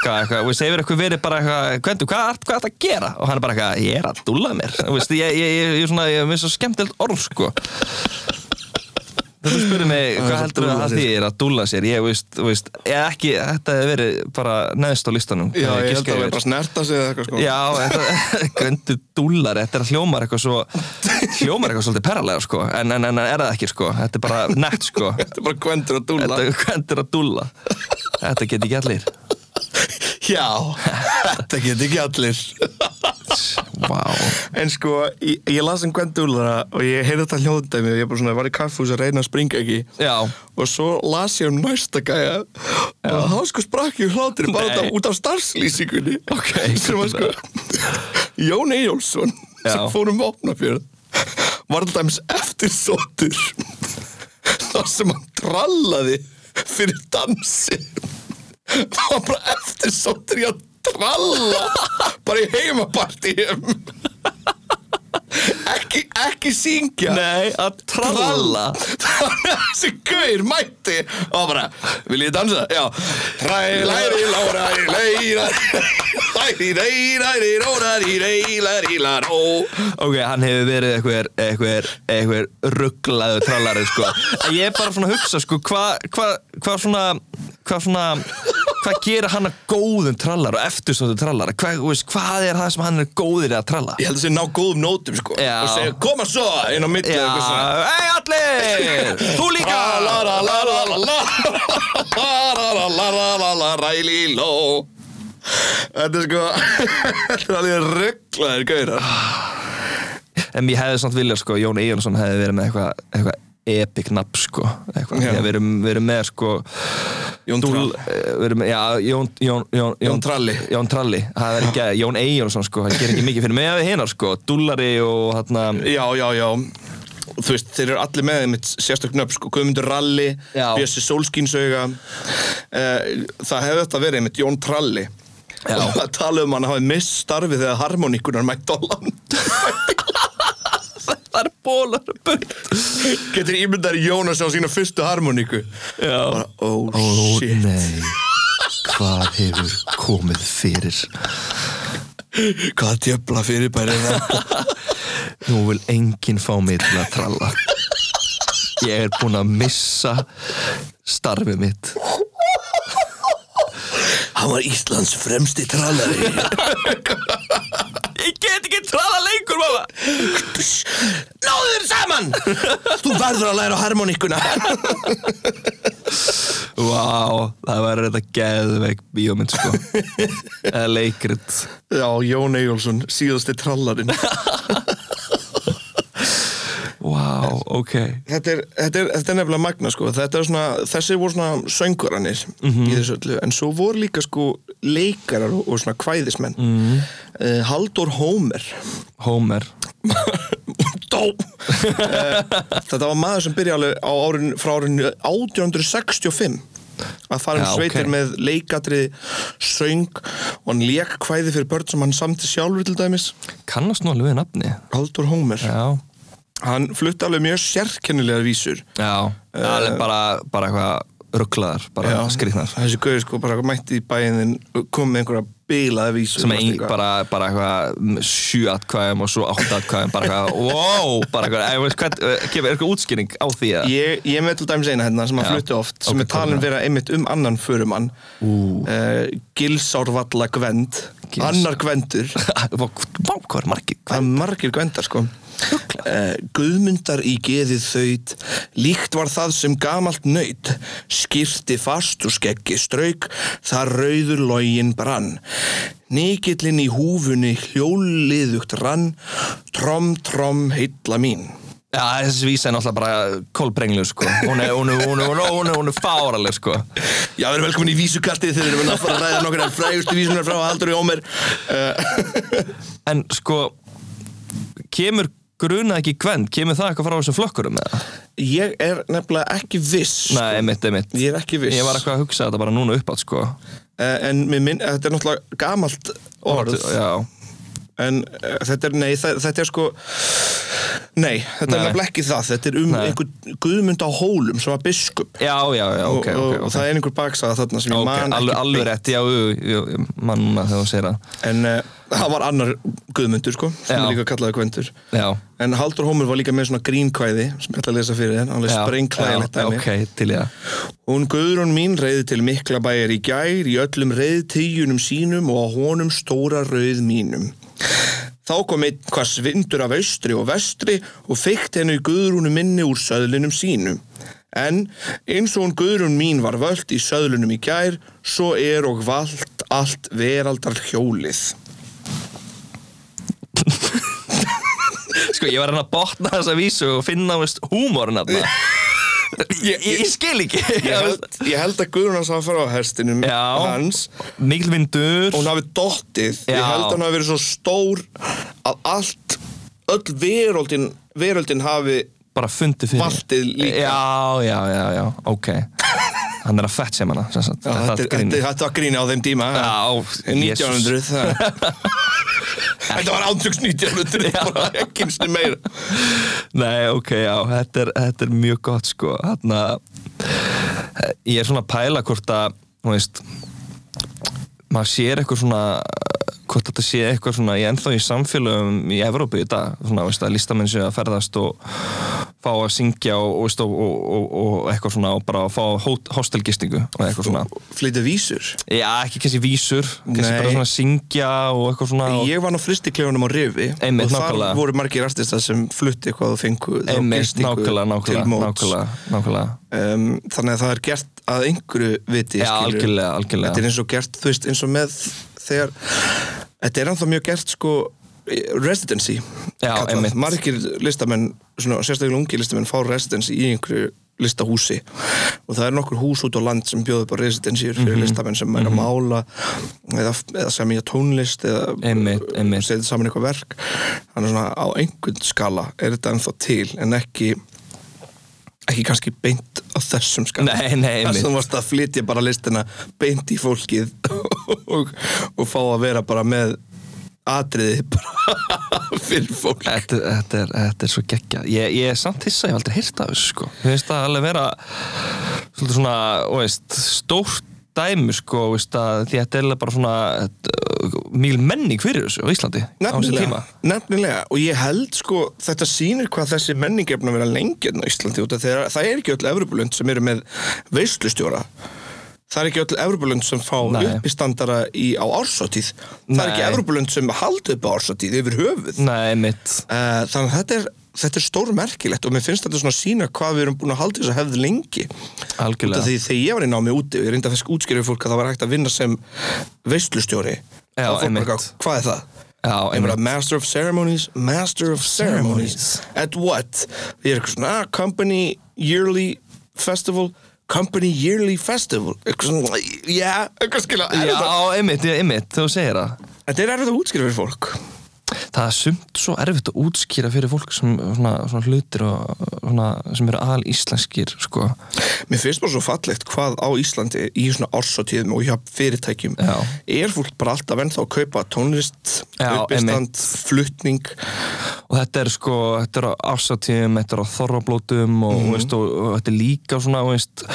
[SPEAKER 1] Hvað, eitthvað, veist, hefur eitthvað verið bara eitthvað, Gvendur, hvað ert hvað ertu að gera? Og hann er bara eitthvað, ég er að dúlla mér Þú veist, ég, ég, ég, ég, er svona, ég er með svo skemmtilegt orð, sko Þetta spurði mig,
[SPEAKER 2] er
[SPEAKER 1] hvað
[SPEAKER 2] svo
[SPEAKER 1] heldur það
[SPEAKER 2] dúlla
[SPEAKER 1] að
[SPEAKER 2] sér.
[SPEAKER 1] því er að dúlla sér? Ég, veist, þú veist, ég ekki, þetta hefur verið bara neðst á listanum
[SPEAKER 2] Já,
[SPEAKER 1] Hefði
[SPEAKER 2] ég held
[SPEAKER 1] giskað
[SPEAKER 2] að það
[SPEAKER 1] yfir.
[SPEAKER 2] er bara snerta sig eða eitthvað sko
[SPEAKER 1] Já, þetta, göndu dúllar, þetta er að hljómar eitthvað svo, hljómar eitthvað svolítið perralega sko, en, en, en er það ekki sko, þetta er bara nekt sko,
[SPEAKER 2] Þetta er bara Gvendur að dúla
[SPEAKER 1] þetta göndur að dúlla, þetta get ekki allir.
[SPEAKER 2] Já, þetta get ekki allir
[SPEAKER 1] Vá.
[SPEAKER 2] En sko, ég, ég las um Gvendur dúlara og ég heyrði þetta hljóðdæmi og ég bara svona var í kaffhús að reyna að springa ekki
[SPEAKER 1] Já,
[SPEAKER 2] og svo las ég um næsta gæja og þá sko sprakk ég úr hlátri bara
[SPEAKER 1] Nei.
[SPEAKER 2] út af, út af starfslýsingunni
[SPEAKER 1] Ok,
[SPEAKER 2] sem var sko Jón Eyjólfsson
[SPEAKER 1] Já.
[SPEAKER 2] sem fór um opnafjörð var til dæmis eftirsóttur þar sem hann trallaði fyrir dansi það var bara eftirsóttur í að tralla bara í heimapartíum ekki, ekki syngja
[SPEAKER 1] nei, að tralla.
[SPEAKER 2] Þannig að þessi gaur mætti og bara, vil ég dansa? Já Ræ, læri, lára, ræ, læra Læri, ræ, læri, róra, ræ, ræ, læri, láró
[SPEAKER 1] Ok, hann hefur verið einhver, einhver, einhver rugglaðu trallari sko. En Ég er bara svona að hugsa sko, hvað hva, hva svona, hvað svona, hvað gera hann að góðum trallar og eftirstóttum trallar? Hva, veist, hvað er það sem hann er góðir í að tralla?
[SPEAKER 2] Ég held að þessi ná góðum nótum sko
[SPEAKER 1] Já.
[SPEAKER 2] Og segja, koma svo, inn á milli
[SPEAKER 1] Já,
[SPEAKER 2] eitthvað svona.
[SPEAKER 1] hei allir, þú líka
[SPEAKER 2] Ra, la, ra, la, la, la, la La, la, la, la, la, la, ræli, ló Þetta er sko Þetta er alveg rugglaðir gaurar
[SPEAKER 1] En ég hefði samt viljað sko, Jón Ejónsson hefði verið með eitthvað eitthva epic nafn sko eitthvað,
[SPEAKER 2] Já.
[SPEAKER 1] ég verið, verið með sko
[SPEAKER 2] Jón
[SPEAKER 1] dúl-
[SPEAKER 2] Trall.
[SPEAKER 1] eh, verið með, já, Jón, Jón, Jón,
[SPEAKER 2] Jón Tralli.
[SPEAKER 1] Jón Tralli, það er ekki Jón Ejónsson sko, hann gerir ekki mikið fyrir mig að við hinnar sko, Dúllari og hérna
[SPEAKER 2] Já, já, já Þú veist, þeir eru allir með þeim sérstök nöfn sko, Guðmundur Ralli,
[SPEAKER 1] Já.
[SPEAKER 2] Bjössi Sólskínsauga Eh, Það hefði þetta verið einmitt Jón Tralli
[SPEAKER 1] Já.
[SPEAKER 2] og að tala um hann hafi mist starfið þegar harmoníkunar mætt á land
[SPEAKER 1] það er bólar burt
[SPEAKER 2] getur ímyndar Jónas á sína fyrstu harmoníku
[SPEAKER 1] Já.
[SPEAKER 2] bara, oh,
[SPEAKER 1] Ó
[SPEAKER 2] shit
[SPEAKER 1] nei, hvað hefur komið fyrir
[SPEAKER 2] hvað djöfla fyrirbæri er þetta
[SPEAKER 1] Nú vil enginn fá mig til að tralla Ég er búinn að missa starfið mitt
[SPEAKER 2] Hann var Íslands fremsti trallari
[SPEAKER 1] Ég get ekki traða lengur mamma
[SPEAKER 2] Náðu þér saman Þú verður að læra á harmoníkuna
[SPEAKER 1] Vá, það væri þetta geðveik bíómynd sko Eða leikrit
[SPEAKER 2] Já, Jón Eyjólfsson, síðasti trallarin
[SPEAKER 1] Vá, ok
[SPEAKER 2] þetta er, þetta, er, þetta er nefnilega magna sko. þetta er svona, þessi voru svona söngurannir í þessu öllu, en svo voru líka sko leikarar og, og svona kvæðismenn mm -hmm. Haldur Hómer
[SPEAKER 1] Homer
[SPEAKER 2] Dó Eh, Þetta var maður sem byrja alveg á árin, frá árinu 1865 að fara um
[SPEAKER 1] Já,
[SPEAKER 2] sveitir
[SPEAKER 1] ok.
[SPEAKER 2] með leikatri söng og hann leik kvæði fyrir börn sem hann samti sjálfur til dæmis
[SPEAKER 1] Kannast nú alveg við nafni
[SPEAKER 2] Haldur Hómer
[SPEAKER 1] Já
[SPEAKER 2] Hann flutti alveg mjög sérkennilega vísur
[SPEAKER 1] Já, alveg bara, bara eitthvað rugglaðar, bara
[SPEAKER 2] Já.
[SPEAKER 1] skrýtnar
[SPEAKER 2] Þessi gauði sko bara mætti í bæinn kom með einhverja bilaða vísur
[SPEAKER 1] sem
[SPEAKER 2] þú
[SPEAKER 1] er
[SPEAKER 2] veist
[SPEAKER 1] ein,
[SPEAKER 2] eitthvað.
[SPEAKER 1] bara, bara eitthvað sjú atkvæðum og svo átt atkvæðum bara eitthvað, wow, bara eitthvað ég veist hvað, eh, gefur eitthvað útskýring á því að
[SPEAKER 2] Ég, ég er með til dæmis eina hérna sem að
[SPEAKER 1] Já.
[SPEAKER 2] flutti oft sem
[SPEAKER 1] Ok,
[SPEAKER 2] er talin
[SPEAKER 1] hvað
[SPEAKER 2] vera einmitt um annan förumann uh, Gilsárvalla Gvend
[SPEAKER 1] Gils-
[SPEAKER 2] annar Gvendur
[SPEAKER 1] Vá, vá, hvað er margir
[SPEAKER 2] það
[SPEAKER 1] hvað
[SPEAKER 2] er margir Gvendar sko uh, Guðmundar í geðið þaut líkt var það sem gamalt nöyt skirti fast og skeggi strauk þar rauður login brann Nikillin í húfunni hjóliðugt rann Trom, trom, heilla mín
[SPEAKER 1] Já, þessi vísa er náttúrulega bara kolbrenglu, sko Hún er, hún er, hún er, hún er, hún er, hún er fáraleg, sko
[SPEAKER 2] Já, við erum velkomin í vísukastið þegar við erum að fara að ræða nokkar af frægustu vísunar frá Haldur í Ómer Uh,
[SPEAKER 1] En, sko, kemur gruna ekki gvend, kemur það eitthvað frá þessum flokkurum eða?
[SPEAKER 2] Ég er nefnilega ekki viss sko.
[SPEAKER 1] Nei, einmitt, einmitt
[SPEAKER 2] Ég er ekki viss
[SPEAKER 1] Sko, Ég var eitthvað að hugsa þetta bara núna uppátt, sko
[SPEAKER 2] Eh, En mér minn, þetta er náttúrulega gamalt orð
[SPEAKER 1] Já,
[SPEAKER 2] En eh, þetta er, nei, það, þetta er sko Nei, þetta er
[SPEAKER 1] Nei.
[SPEAKER 2] nefnilega ekki það Þetta er um
[SPEAKER 1] Nei.
[SPEAKER 2] einhver guðmund á hólum sem var biskup
[SPEAKER 1] já, já, já, ok,
[SPEAKER 2] og,
[SPEAKER 1] ok,
[SPEAKER 2] og, og
[SPEAKER 1] ok
[SPEAKER 2] það er einhver baksaða þarna sem ég
[SPEAKER 1] Ok,
[SPEAKER 2] man
[SPEAKER 1] alveg,
[SPEAKER 2] ekki
[SPEAKER 1] alveg rétt, já, jú, jú, jú, mann núna þegar þú segir það
[SPEAKER 2] En uh, það var annar guðmundur sko
[SPEAKER 1] Já.
[SPEAKER 2] sem er líka kallaði Gvendur
[SPEAKER 1] Já,
[SPEAKER 2] En Haldur Hómur var líka með svona grínkvæði sem ég ætla að lesa fyrir þér, alveg
[SPEAKER 1] já,
[SPEAKER 2] sprengklæðilegt
[SPEAKER 1] já,
[SPEAKER 2] dæmi.
[SPEAKER 1] Ok, til ég að
[SPEAKER 2] Hún Guðrún mín reyði til mikla bæjar í gær í öllum reyðtíjunum sínum og á honum stóra rauð mínum. Þá kom einn hvað svindur af austri og vestri og feikt hennu Guðrúnu minni úr söðlunum sínum. En eins og hún Guðrún mín var völd í söðlunum í gær, svo er og vald allt veraldar hjólið.
[SPEAKER 1] Sko, ég var hann að botna þessa vísu og finna, veist, húmorinn aðna ég, ég, ég skil ekki
[SPEAKER 2] Ég held, ég held að Guðrún hans hafa farið á herstinum
[SPEAKER 1] Já,
[SPEAKER 2] hans
[SPEAKER 1] mikil vindur
[SPEAKER 2] hún hafi dottið
[SPEAKER 1] Já.
[SPEAKER 2] ég held að hún hafi verið svo stór að allt, öll veröldin veröldin hafi
[SPEAKER 1] Bara fundi fyrir
[SPEAKER 2] Valtið líka.
[SPEAKER 1] Já, já, já, já, ok Hann er að fett sem hana, sem sagt
[SPEAKER 2] Já, þetta,
[SPEAKER 1] er
[SPEAKER 2] er-
[SPEAKER 1] grínið.
[SPEAKER 2] þetta, þetta var gríni á þeim tíma
[SPEAKER 1] Já,
[SPEAKER 2] En
[SPEAKER 1] Jesus.
[SPEAKER 2] 1900 það- Þetta var ántöks 1900
[SPEAKER 1] Já.
[SPEAKER 2] bara ekki einu sinni meira
[SPEAKER 1] Nei, ok, já, þetta er, þetta er mjög gott sko Þarna, eh, Ég er svona að pæla hvort að þú veist maður sér eitthvað svona hvort þetta sé eitthvað svona í ennþá í samfélögum í Evrópu í dag svona, veist, að listamenn séu að ferðast og fá að syngja og, og, veist, og, og, og, og eitthvað svona og bara að fá hót- hostelgistingu og eitthvað svona
[SPEAKER 2] Flytja vísur
[SPEAKER 1] Já, ekki kannski vísur, kannski
[SPEAKER 2] Nei.
[SPEAKER 1] bara svona að syngja og eitthvað svona og,
[SPEAKER 2] Ég var nú fristiklefunum á Rifi
[SPEAKER 1] Einmitt,
[SPEAKER 2] og þar
[SPEAKER 1] nákvæmlega.
[SPEAKER 2] voru margir artistar sem flutti eitthvað og fengu þá
[SPEAKER 1] einmitt,
[SPEAKER 2] gistingu
[SPEAKER 1] nákvæmlega,
[SPEAKER 2] sko, til
[SPEAKER 1] nákvæmlega,
[SPEAKER 2] móts.
[SPEAKER 1] nákvæmlega, nákvæmlega.
[SPEAKER 2] Um, Þannig að það er gert að einhverju viti
[SPEAKER 1] Já,
[SPEAKER 2] skilurðu.
[SPEAKER 1] algjörlega, algjörlega
[SPEAKER 2] þetta er eins og gert, þú veist, eins og með þegar, þetta er ennþá mjög gert sko, residency
[SPEAKER 1] Já, einmitt.
[SPEAKER 2] margir listamenn svona, sérstaklega ungi listamenn fá residency í einhverju listahúsi og það er nokkur hús út á land sem bjóður bara residency fyrir
[SPEAKER 1] Mhm.
[SPEAKER 2] listamenn sem er að mála eða, eða semja tónlist eða
[SPEAKER 1] Einmitt, einmitt.
[SPEAKER 2] setja saman eitthvað verk þannig svona á einhvern skala er þetta ennþá til en ekki ekki kannski beint á þessum skala
[SPEAKER 1] Nei, nei, einmitt.
[SPEAKER 2] þessum þú varst að flytja bara listina beint í fólkið og, og fá að vera bara með atriði bara fyrir fólk
[SPEAKER 1] Þetta, þetta, er, þetta er svo geggja ég, ég er samt hissa, að ég hef aldrei heyrt af þessu sko. Mér finnst það alveg vera svolítið svona, ó veist, stórt dæmi sko, veist, að, því að þetta er eiginlega bara svona mjög menning fyrir þessu á Íslandi á þessu tíma
[SPEAKER 2] Nefnilega, nefnilega, og ég held sko þetta sýnir hvað þessi menningefna vera lengi enn á Íslandi út af þegar það er ekki öll Evropulund sem eru með veislustjóra það er ekki öll Evropulund sem fá
[SPEAKER 1] Nei.
[SPEAKER 2] uppistandara í, á ársóttíð það er
[SPEAKER 1] Nei.
[SPEAKER 2] ekki Evropulund sem haldi upp á ársóttíð yfir höfuð
[SPEAKER 1] Nei, mitt
[SPEAKER 2] Eh, þannig að þetta er, þetta er stórmerkilegt og mér finnst þetta svona sína hvað við erum búin að halda þess að hefð lengi Út af
[SPEAKER 1] Algjörlega
[SPEAKER 2] því þegar ég var í námi úti og ég reyndi að fisk útskýrið fólk að það var hægt að vinna sem veislustjóri
[SPEAKER 1] Já,
[SPEAKER 2] Og fólk bara
[SPEAKER 1] einmitt.
[SPEAKER 2] eitthvað, Hvað er það?
[SPEAKER 1] Já,
[SPEAKER 2] Ég bara,
[SPEAKER 1] einmitt.
[SPEAKER 2] master of ceremonies, master of ceremonies
[SPEAKER 1] Ceremonies.
[SPEAKER 2] At what? Ég er eitthvað svona, ah, company yearly festival Company yearly festival Eitthvað svona, já, eitthvað skilja
[SPEAKER 1] Já,
[SPEAKER 2] erfitt að-
[SPEAKER 1] einmitt, já, einmitt, þú segir það
[SPEAKER 2] Þetta er erfitt að útskýra fyrir fólk
[SPEAKER 1] Það er sumt svo erfitt að útskýra fyrir fólk sem svona, svona hlutir og svona, sem eru al íslenskir sko.
[SPEAKER 2] Mér finnst bara svo fallegt hvað á Íslandi í svona ársótíðum og hjá fyrirtækjum
[SPEAKER 1] Já.
[SPEAKER 2] er fólk bara alltaf ennþá að kaupa tónlist,
[SPEAKER 1] Já,
[SPEAKER 2] uppistand,
[SPEAKER 1] einmitt.
[SPEAKER 2] flutning
[SPEAKER 1] og þetta er sko, þetta er á ásatíðum þetta er á þorrablótum og,
[SPEAKER 2] Mhm.
[SPEAKER 1] mm veist, og, og þetta er líka svona þú veist,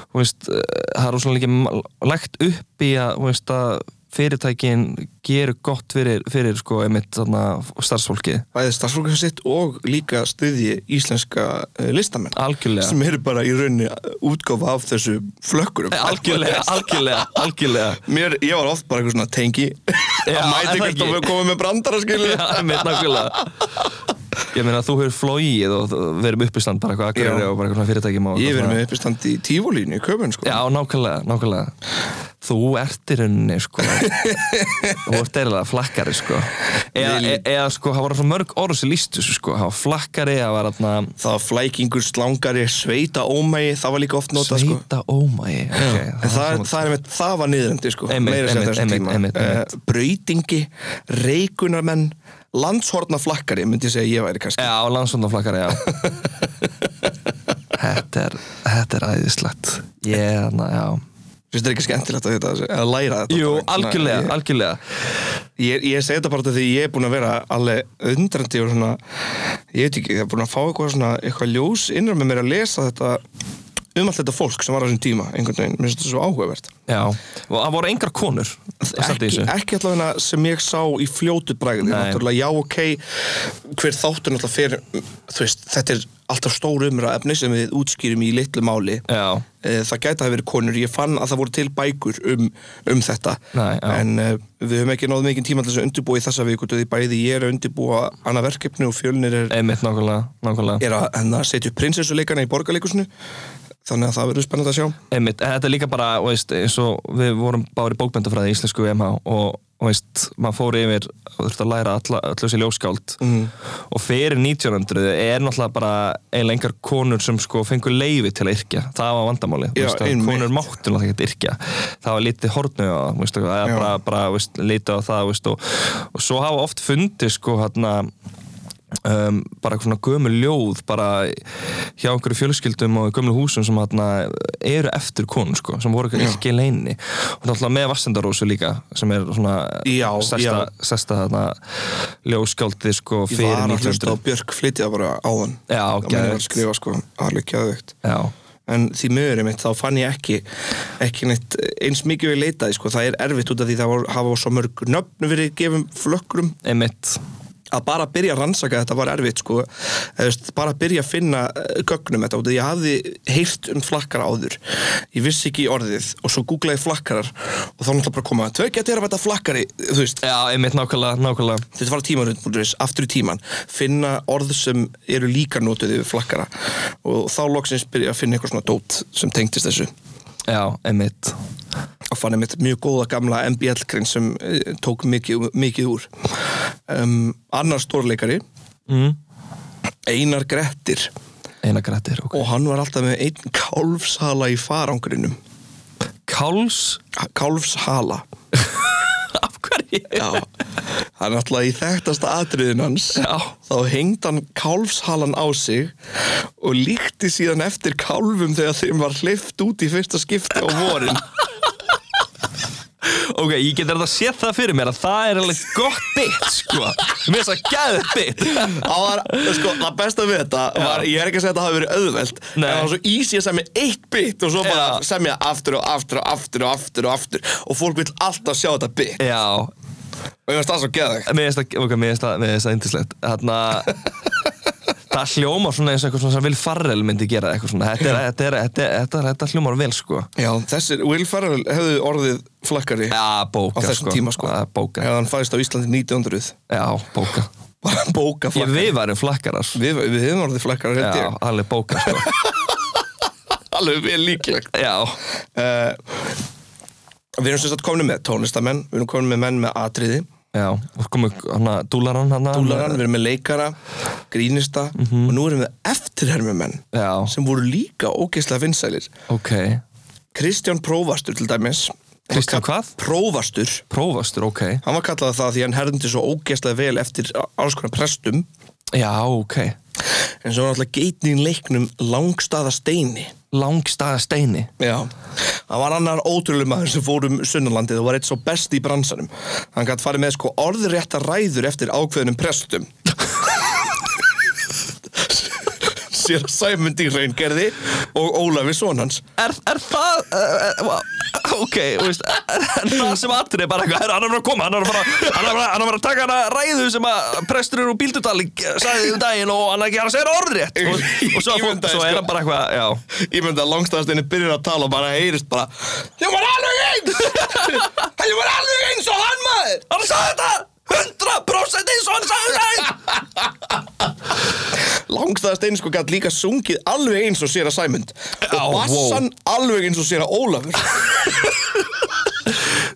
[SPEAKER 1] þú veist, eh, það er svona líka ma- lagt upp í að, þú veist, að fyrirtækin gerur gott fyrir, fyrir sko, einmitt þarna starfsfólki
[SPEAKER 2] bæði starfsfólkið sitt og líka stuði íslenska eh, listamenn
[SPEAKER 1] algjörlega
[SPEAKER 2] sem eru bara í rauninni útgáfa af þessu flökkurum
[SPEAKER 1] Eh, algjörlega, algjörlega, algjörlega
[SPEAKER 2] Mér, ég var oft bara eitthvað svona tengi
[SPEAKER 1] Já,
[SPEAKER 2] að
[SPEAKER 1] er
[SPEAKER 2] mæti
[SPEAKER 1] það
[SPEAKER 2] hvert og
[SPEAKER 1] ekki?
[SPEAKER 2] við komum með brandara skilur
[SPEAKER 1] Já, einmitt nákvæmlega Ég meina þú hefur flóið og þú- verið með uppistand bara eitthvað akkurir
[SPEAKER 2] Já.
[SPEAKER 1] og bara eitthvað svona fyrirtækjum og
[SPEAKER 2] Ég verið
[SPEAKER 1] eitthvað
[SPEAKER 2] með uppistand í tífólínu í köpun sko.
[SPEAKER 1] svona. Já, nákvæmlega, nákvæmlega Þú ert í rauninni, sko Þú ert eirlega flakkari, sko Eða, e, eða sko, það voru svo mörg orð sem lístu, sko Það var flakkari, það var þarna
[SPEAKER 2] Það var flækingur, slangari, sveita, ómægi Það var líka oft notað sko.
[SPEAKER 1] Sveita ómægi okay,
[SPEAKER 2] En það, er, það, er, einmitt- það var niðrandi sko,
[SPEAKER 1] Einmitt,
[SPEAKER 2] meira sem
[SPEAKER 1] einmitt,
[SPEAKER 2] þessum
[SPEAKER 1] einmitt,
[SPEAKER 2] tíma
[SPEAKER 1] einmitt, einmitt.
[SPEAKER 2] Eh, Brautingi, reikunarmenn, landshorna flakkari myndi ég segja að ég væri kannski
[SPEAKER 1] Já, landsvöndaflakkari, já Þetta er, þetta er æðislegt Ég, þarna, já
[SPEAKER 2] Finnst þetta ekki skemmtilegt að, þetta, að læra þetta
[SPEAKER 1] Jú,
[SPEAKER 2] Bara, svona,
[SPEAKER 1] algjörlega,
[SPEAKER 2] ég-
[SPEAKER 1] algjörlega
[SPEAKER 2] Ég, ég segi þetta bara út af því ég er búin að vera alveg undrandi og svona ég veit ekki, ég er búin að fá eitthvað svona eitthvað ljós innra með mér að lesa þetta um allt þetta fólk sem var á þessum tíma einhvern veginn, mér finnst þetta svo áhugavert
[SPEAKER 1] Já, og það voru engar konur samt í
[SPEAKER 2] ekki,
[SPEAKER 1] þessu.
[SPEAKER 2] ekki allavega sem ég sá í fljótu bræði
[SPEAKER 1] Nei.
[SPEAKER 2] náttúrulega já ok hver þáttur náttúrulega fyrir þú veist, þetta er alltaf stór umra efni sem við útskýrum í litlu máli
[SPEAKER 1] Já,
[SPEAKER 2] Eh, það gæti að vera konur, ég fann að það voru til bækur um, um þetta
[SPEAKER 1] Nei, já.
[SPEAKER 2] en uh, við höfum ekki náð mikið tíma til þess að undirbúa í þessa viku, því bæði ég er að undirbúa annað verkefni og fjölnir er,
[SPEAKER 1] einmitt nákvæmlega, nákvæmlega.
[SPEAKER 2] er að, en að setja upp prinsessuleikana í borgarleikusinu þannig að það verður spennandi að sjá
[SPEAKER 1] Einmitt, en þetta er líka bara, veist, eins og við vorum bári bókmyndafræði í íslensku MH og og veist, maður fór yfir og þurfti að læra alla, allu þessi ljóskáld
[SPEAKER 2] Mhm.
[SPEAKER 1] og fyrir 1900 er náttúrulega bara eiginlega engar konur sem sko fengur leifi til að yrkja, það var vandamáli
[SPEAKER 2] Já, einmitt.
[SPEAKER 1] konur máttu náttúrulega ekki að yrkja það var lítið hornu á, það, veist, eða
[SPEAKER 2] Já.
[SPEAKER 1] bara, bara veist, lítið á það veist, og, og svo hafa oft fundið sko hérna um, bara eitthvað svona gömul ljóð bara hjá einhverju fjölskyldum og gömlu húsum sem hana, eru eftir konun sko, sem voru eitthvað ekki í leinni og náttúrulega með Vassendarósu líka sem er svona
[SPEAKER 2] Já,
[SPEAKER 1] sesta, sesta þarna, ljóskjáldi sko
[SPEAKER 2] ég var
[SPEAKER 1] fyrir
[SPEAKER 2] að hlusta á
[SPEAKER 1] 1900
[SPEAKER 2] Björk flytja bara áðan
[SPEAKER 1] Já,
[SPEAKER 2] það mér
[SPEAKER 1] geðveikt.
[SPEAKER 2] að skrifa sko, alveg gæðugt
[SPEAKER 1] Já,
[SPEAKER 2] en því mögur mitt þá fann ég ekki ekki neitt eh, eins mikið við leitaði sko. það er erfitt út af því það var, hafa svo mörg nöfn verið gefum flökkrum
[SPEAKER 1] einmitt
[SPEAKER 2] að bara byrja að rannsaka þetta var erfitt sko. Eða, veist, bara að byrja að finna eh, gögnum þetta út af því ég hafði heyrt um flakkara áður ég vissi ekki orðið og svo googlaði flakkarar og þá náttúrulega bara koma tvekja til að þetta flakkari þú veist
[SPEAKER 1] Já, einmitt nákvæmlega, nákvæmlega
[SPEAKER 2] þetta var tímarund.is, aftur í tíman finna orð sem eru líka notuð yfir flakkara og þá loksins byrja að finna eitthvað svona dót sem tengdist þessu
[SPEAKER 1] Já, einmitt
[SPEAKER 2] og fann einmitt mjög góða gamla MBL-grin sem eh, tók mikið, mikið úr um, annar stórleikari
[SPEAKER 1] mm.
[SPEAKER 2] Einar Grettir
[SPEAKER 1] Einar grættir, ok
[SPEAKER 2] og hann var alltaf með einn kálfshala í farangrinum
[SPEAKER 1] Káls,
[SPEAKER 2] kálfshala
[SPEAKER 1] af hverju?
[SPEAKER 2] Já, það er náttúrulega í þekktasta atriðin hans
[SPEAKER 1] Já.
[SPEAKER 2] þá hengd hann kálfshalan á sig og líkti síðan eftir kálfum þegar þeim var hleyft út í fyrsta skipti á vorin
[SPEAKER 1] Ok, ég get þetta að sé það fyrir mér að það er alveg gott bit, sko Mér þess að gæða bit
[SPEAKER 2] Það var, sko, það besta við þetta var, ég er ekki að segja að þetta hafi verið auðvelt en
[SPEAKER 1] Nei.
[SPEAKER 2] það var svo easy að semja eitt bit og svo bara
[SPEAKER 1] Já.
[SPEAKER 2] semja aftur og aftur og aftur og aftur og aftur og fólk vill alltaf sjá þetta bit
[SPEAKER 1] Já,
[SPEAKER 2] Og ég veist það svo geðvegt.
[SPEAKER 1] Mér finnst það, ok, mér finnst það, mér finnst það indislegt Þarna Það hljómar svona eins og eitthvað svona sem Will Farrell myndi gera eitthvað svona Þetta, er, þetta, er, þetta, er, þetta, er, þetta hljómar vel sko
[SPEAKER 2] Já, þessir Will Ferrell hefðu orðið flakkari
[SPEAKER 1] Já, bóka
[SPEAKER 2] á þessum
[SPEAKER 1] sko.
[SPEAKER 2] tíma sko.
[SPEAKER 1] Já, bóka
[SPEAKER 2] Ef hann fæðist á Íslandi 1900.
[SPEAKER 1] Já, bóka
[SPEAKER 2] Bara bóka
[SPEAKER 1] Ég
[SPEAKER 2] flakkari.
[SPEAKER 1] við varum um flakkarar
[SPEAKER 2] Við, við hefum orðið flakkari,
[SPEAKER 1] Já,
[SPEAKER 2] held ég.
[SPEAKER 1] alveg bóka sko
[SPEAKER 2] Alveg vel líklegt.
[SPEAKER 1] Já,
[SPEAKER 2] Uh, við erum sem sagt komin með tónlistamenn, við erum komin með menn með atriði,
[SPEAKER 1] já Og komu hana, dúlaran hana
[SPEAKER 2] dúlaran, við erum með leikara, grínista og nú erum við eftirhermumenn
[SPEAKER 1] Já,
[SPEAKER 2] sem voru líka ógeðslega vinsælir.
[SPEAKER 1] ok
[SPEAKER 2] Kristján Prófastur til dæmis.
[SPEAKER 1] Kristján
[SPEAKER 2] Hann var
[SPEAKER 1] hvað?
[SPEAKER 2] kall- Prófastur.
[SPEAKER 1] Prófastur, ok
[SPEAKER 2] Hann var kallað það því hann herndi svo ógeðslega vel eftir alls konar prestum
[SPEAKER 1] Já, ok
[SPEAKER 2] en svo var náttúrulega geitnin leiknum langstaða steini.
[SPEAKER 1] Langstaða steini
[SPEAKER 2] Já, hann var annar ótrúlega maður sem fór um Sunnarlandið og var eitt svo best í bransanum. Hann gætt farið með sko orðrétta ræður eftir ákveðnum prestum. Sér að Sæmund í raungerði og Ólafi son hans.
[SPEAKER 1] er, er það uh, ok, þú veist er, er það sem atrið bara eitthvað herra, hann er bara að koma, hann er bara hann er bara, hann er bara að taka hana ræðu sem að presturinn úr bíldudal sagði um daginn og hann er ekki hann að segja hana orðrétt og, og svo, fór, svo er hann bara eitthvað já,
[SPEAKER 2] sko. Ég myndi að langstæðastinni byrjar að tala og bara heyrist bara Ég var alveg eins! Ég var alveg eins og hann maður!
[SPEAKER 1] hann sagði þetta 100% eins og hann sagði þetta
[SPEAKER 2] Langstæðastinni sko gætt líka sungið alveg eins og sér að Sæmund
[SPEAKER 1] Já,
[SPEAKER 2] og bassan alveg eins og sér að Ólafur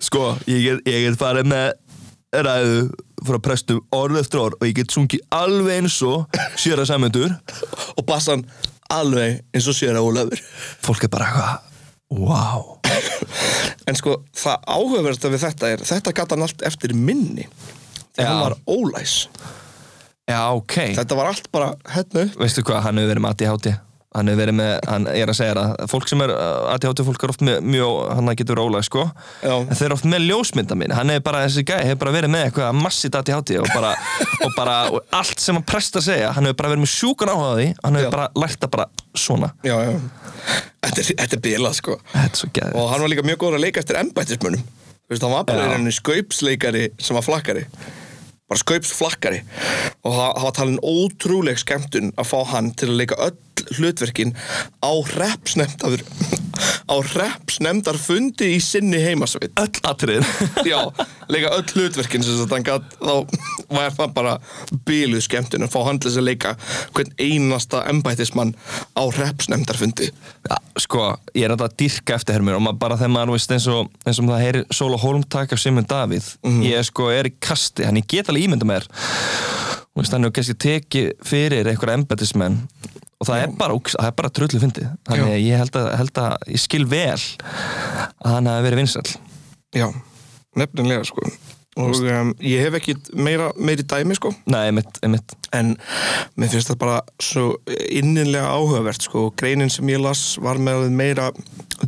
[SPEAKER 1] sko, ég get, ég get farið með ræðu frá prestum orð eftir orð og ég get sungið alveg eins og sér að samöndur
[SPEAKER 2] og bassan alveg eins og sér að Ólafur
[SPEAKER 1] fólk er bara eitthvað wow
[SPEAKER 2] En sko, það áhugaverðasta við þetta er þetta gætt hann allt eftir minni
[SPEAKER 1] Já.
[SPEAKER 2] þegar hann var ólæs
[SPEAKER 1] já, ok
[SPEAKER 2] Þetta var allt bara hérna upp
[SPEAKER 1] veistu hvað, hann hefur verið með ADHD hann hefur verið með, hann er að segja það fólk sem er uh, ADHD fólk er oft með mjög, hann getur rólega sko
[SPEAKER 2] Já.
[SPEAKER 1] en þeir eru oft með ljósmynda mín, hann hefur bara þessi gæði, hefur bara verið með eitthvað massið ADHD og bara, og bara og allt sem hann prestar segja, hann hefur bara verið með sjúkan áhuga á því, hann
[SPEAKER 2] Já.
[SPEAKER 1] hefur bara lært að bara svona,
[SPEAKER 2] Já, já Þetta er, þetta er bilað sko
[SPEAKER 1] þetta er svo gæði
[SPEAKER 2] og hann var líka mjög góður að leika eftir embættismönnum þú veist, hann var bara
[SPEAKER 1] Já.
[SPEAKER 2] í rauninni skaupsleikari sem var flakkari bara skaupsflakkari og það það var talin ótrúleg skemmtun að fá hann til að leika öll hlutverkin á repsnefndaður á repsnefndar fundi í sinni heimasveit
[SPEAKER 1] öll atrið
[SPEAKER 2] já, leika öll hlutverkin sem sagt hann gat, þá var það bara bíluð skemmtun að fá hann til þess að leika hvern einasta embættismann á repsnefndar fundi
[SPEAKER 1] Ja, sko, ég er alltaf að dýrka eftir hermur og maður bara þegar maður veist eins og, eins og það heyri Sóla Holm taka Simon Davíð ég sko er í kasti, hann ég get alveg ímynda mér Þú veist, hann hefur kannski tekið fyrir einhverja embeddismenn og það er bara, ógeðs- það er bara trullu fyndið þannig að ég held að, held að ég skil vel að hann hafi verið vinsall
[SPEAKER 2] Já, nefnilega sko og um, ég hef ekki meira, meiri dæmi sko
[SPEAKER 1] Nei, einmitt, einmitt
[SPEAKER 2] en mér finnst það bara svo innilega áhugavert sko greinin sem ég las var með alveg meira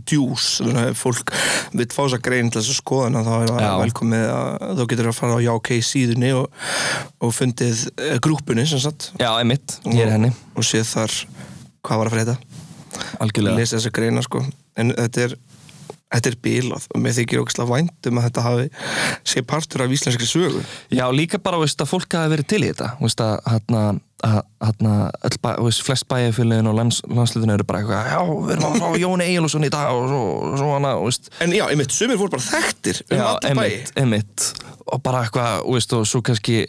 [SPEAKER 2] djús, þannig að ef fólk vill fá þess að grein til þess að skoða hana þá er það
[SPEAKER 1] Já.
[SPEAKER 2] velkomið að þú getur að fara á jákei síðunni og, og fundið eh, grúppunni sem sagt
[SPEAKER 1] Já, einmitt, ég er í henni,
[SPEAKER 2] og, og séð þar hvað var að frétta
[SPEAKER 1] algjörlega
[SPEAKER 2] lesa þessa greina sko en þetta er, þetta er bílað og mér þykir ógislega vænt um að þetta hafi sé partur af íslenskri sögu
[SPEAKER 1] Já, líka bara, veist, að fólk hafi verið til í þetta veist, að hérna að hérna, öll bæ, veist, flest bæjarfélagin og lands, landslutin eru bara eitthvað já, við erum að fá Jón Egilsson í dag og svo, og svo hana, veist
[SPEAKER 2] en já, einmitt, sumir voru bara þekktir um
[SPEAKER 1] já,
[SPEAKER 2] alla
[SPEAKER 1] einmitt, einmitt og bara eitthvað, veist, og svo kannski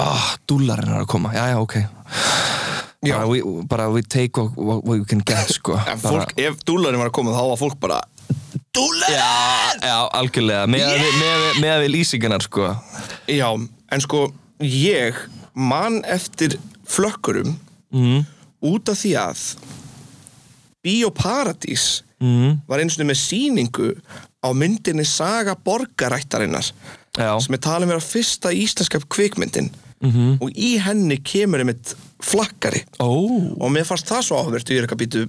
[SPEAKER 1] ah, dúlarinn er að koma já, já, ok
[SPEAKER 2] Já.
[SPEAKER 1] bara, we, bara we take what, what we can get, sko
[SPEAKER 2] bæi en
[SPEAKER 1] Bara-
[SPEAKER 2] fólk, ef dúlarinn var að koma þá var fólk bara dúlarinn!
[SPEAKER 1] Já, já, algjörlega, með að við, með, með, með við lýsingarnar, sko
[SPEAKER 2] Já, en sko ég man eftir flökkurum
[SPEAKER 1] mm,
[SPEAKER 2] út af því að Bíóparadís
[SPEAKER 1] mm,
[SPEAKER 2] var eins og með sýningu á myndinni Saga borgarættarinnar
[SPEAKER 1] Já, Mhm.
[SPEAKER 2] sem er talið mér að fyrsta íslenska kvikmyndin -hmm. og í henni kemur einmitt flakkari
[SPEAKER 1] ó,
[SPEAKER 2] og mér fannst það svo áhverft ég er eitthvað býtu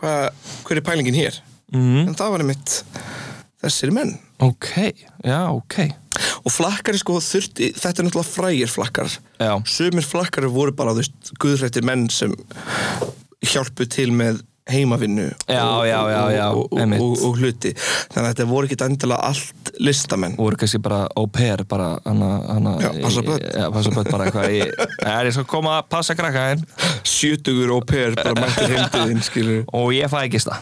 [SPEAKER 2] hvað, hver er pælingin hér?
[SPEAKER 1] Mhm.
[SPEAKER 2] en það var einmitt þessir menn
[SPEAKER 1] ok já, ok,
[SPEAKER 2] og flakkari sko þurfti, þetta er náttúrulega frægir flakkar
[SPEAKER 1] já
[SPEAKER 2] sumir flakkari voru bara þú veist guðrættir menn sem hjálpu til með heimavinnu
[SPEAKER 1] Já,
[SPEAKER 2] og,
[SPEAKER 1] já, já, já,
[SPEAKER 2] og, og, og,
[SPEAKER 1] einmitt.
[SPEAKER 2] og, og hluti þannig að þetta voru ekki endilega allt listamenn
[SPEAKER 1] voru kannski bara au pair bara hana, hana,
[SPEAKER 2] Já, passa börn.
[SPEAKER 1] já, passa börn bara eitthvað ég, "Jæja, ég skal koma að passa krakkaðin
[SPEAKER 2] sjötugur og per bara mættir heimdiðin skilur
[SPEAKER 1] og ég fæ ekki stað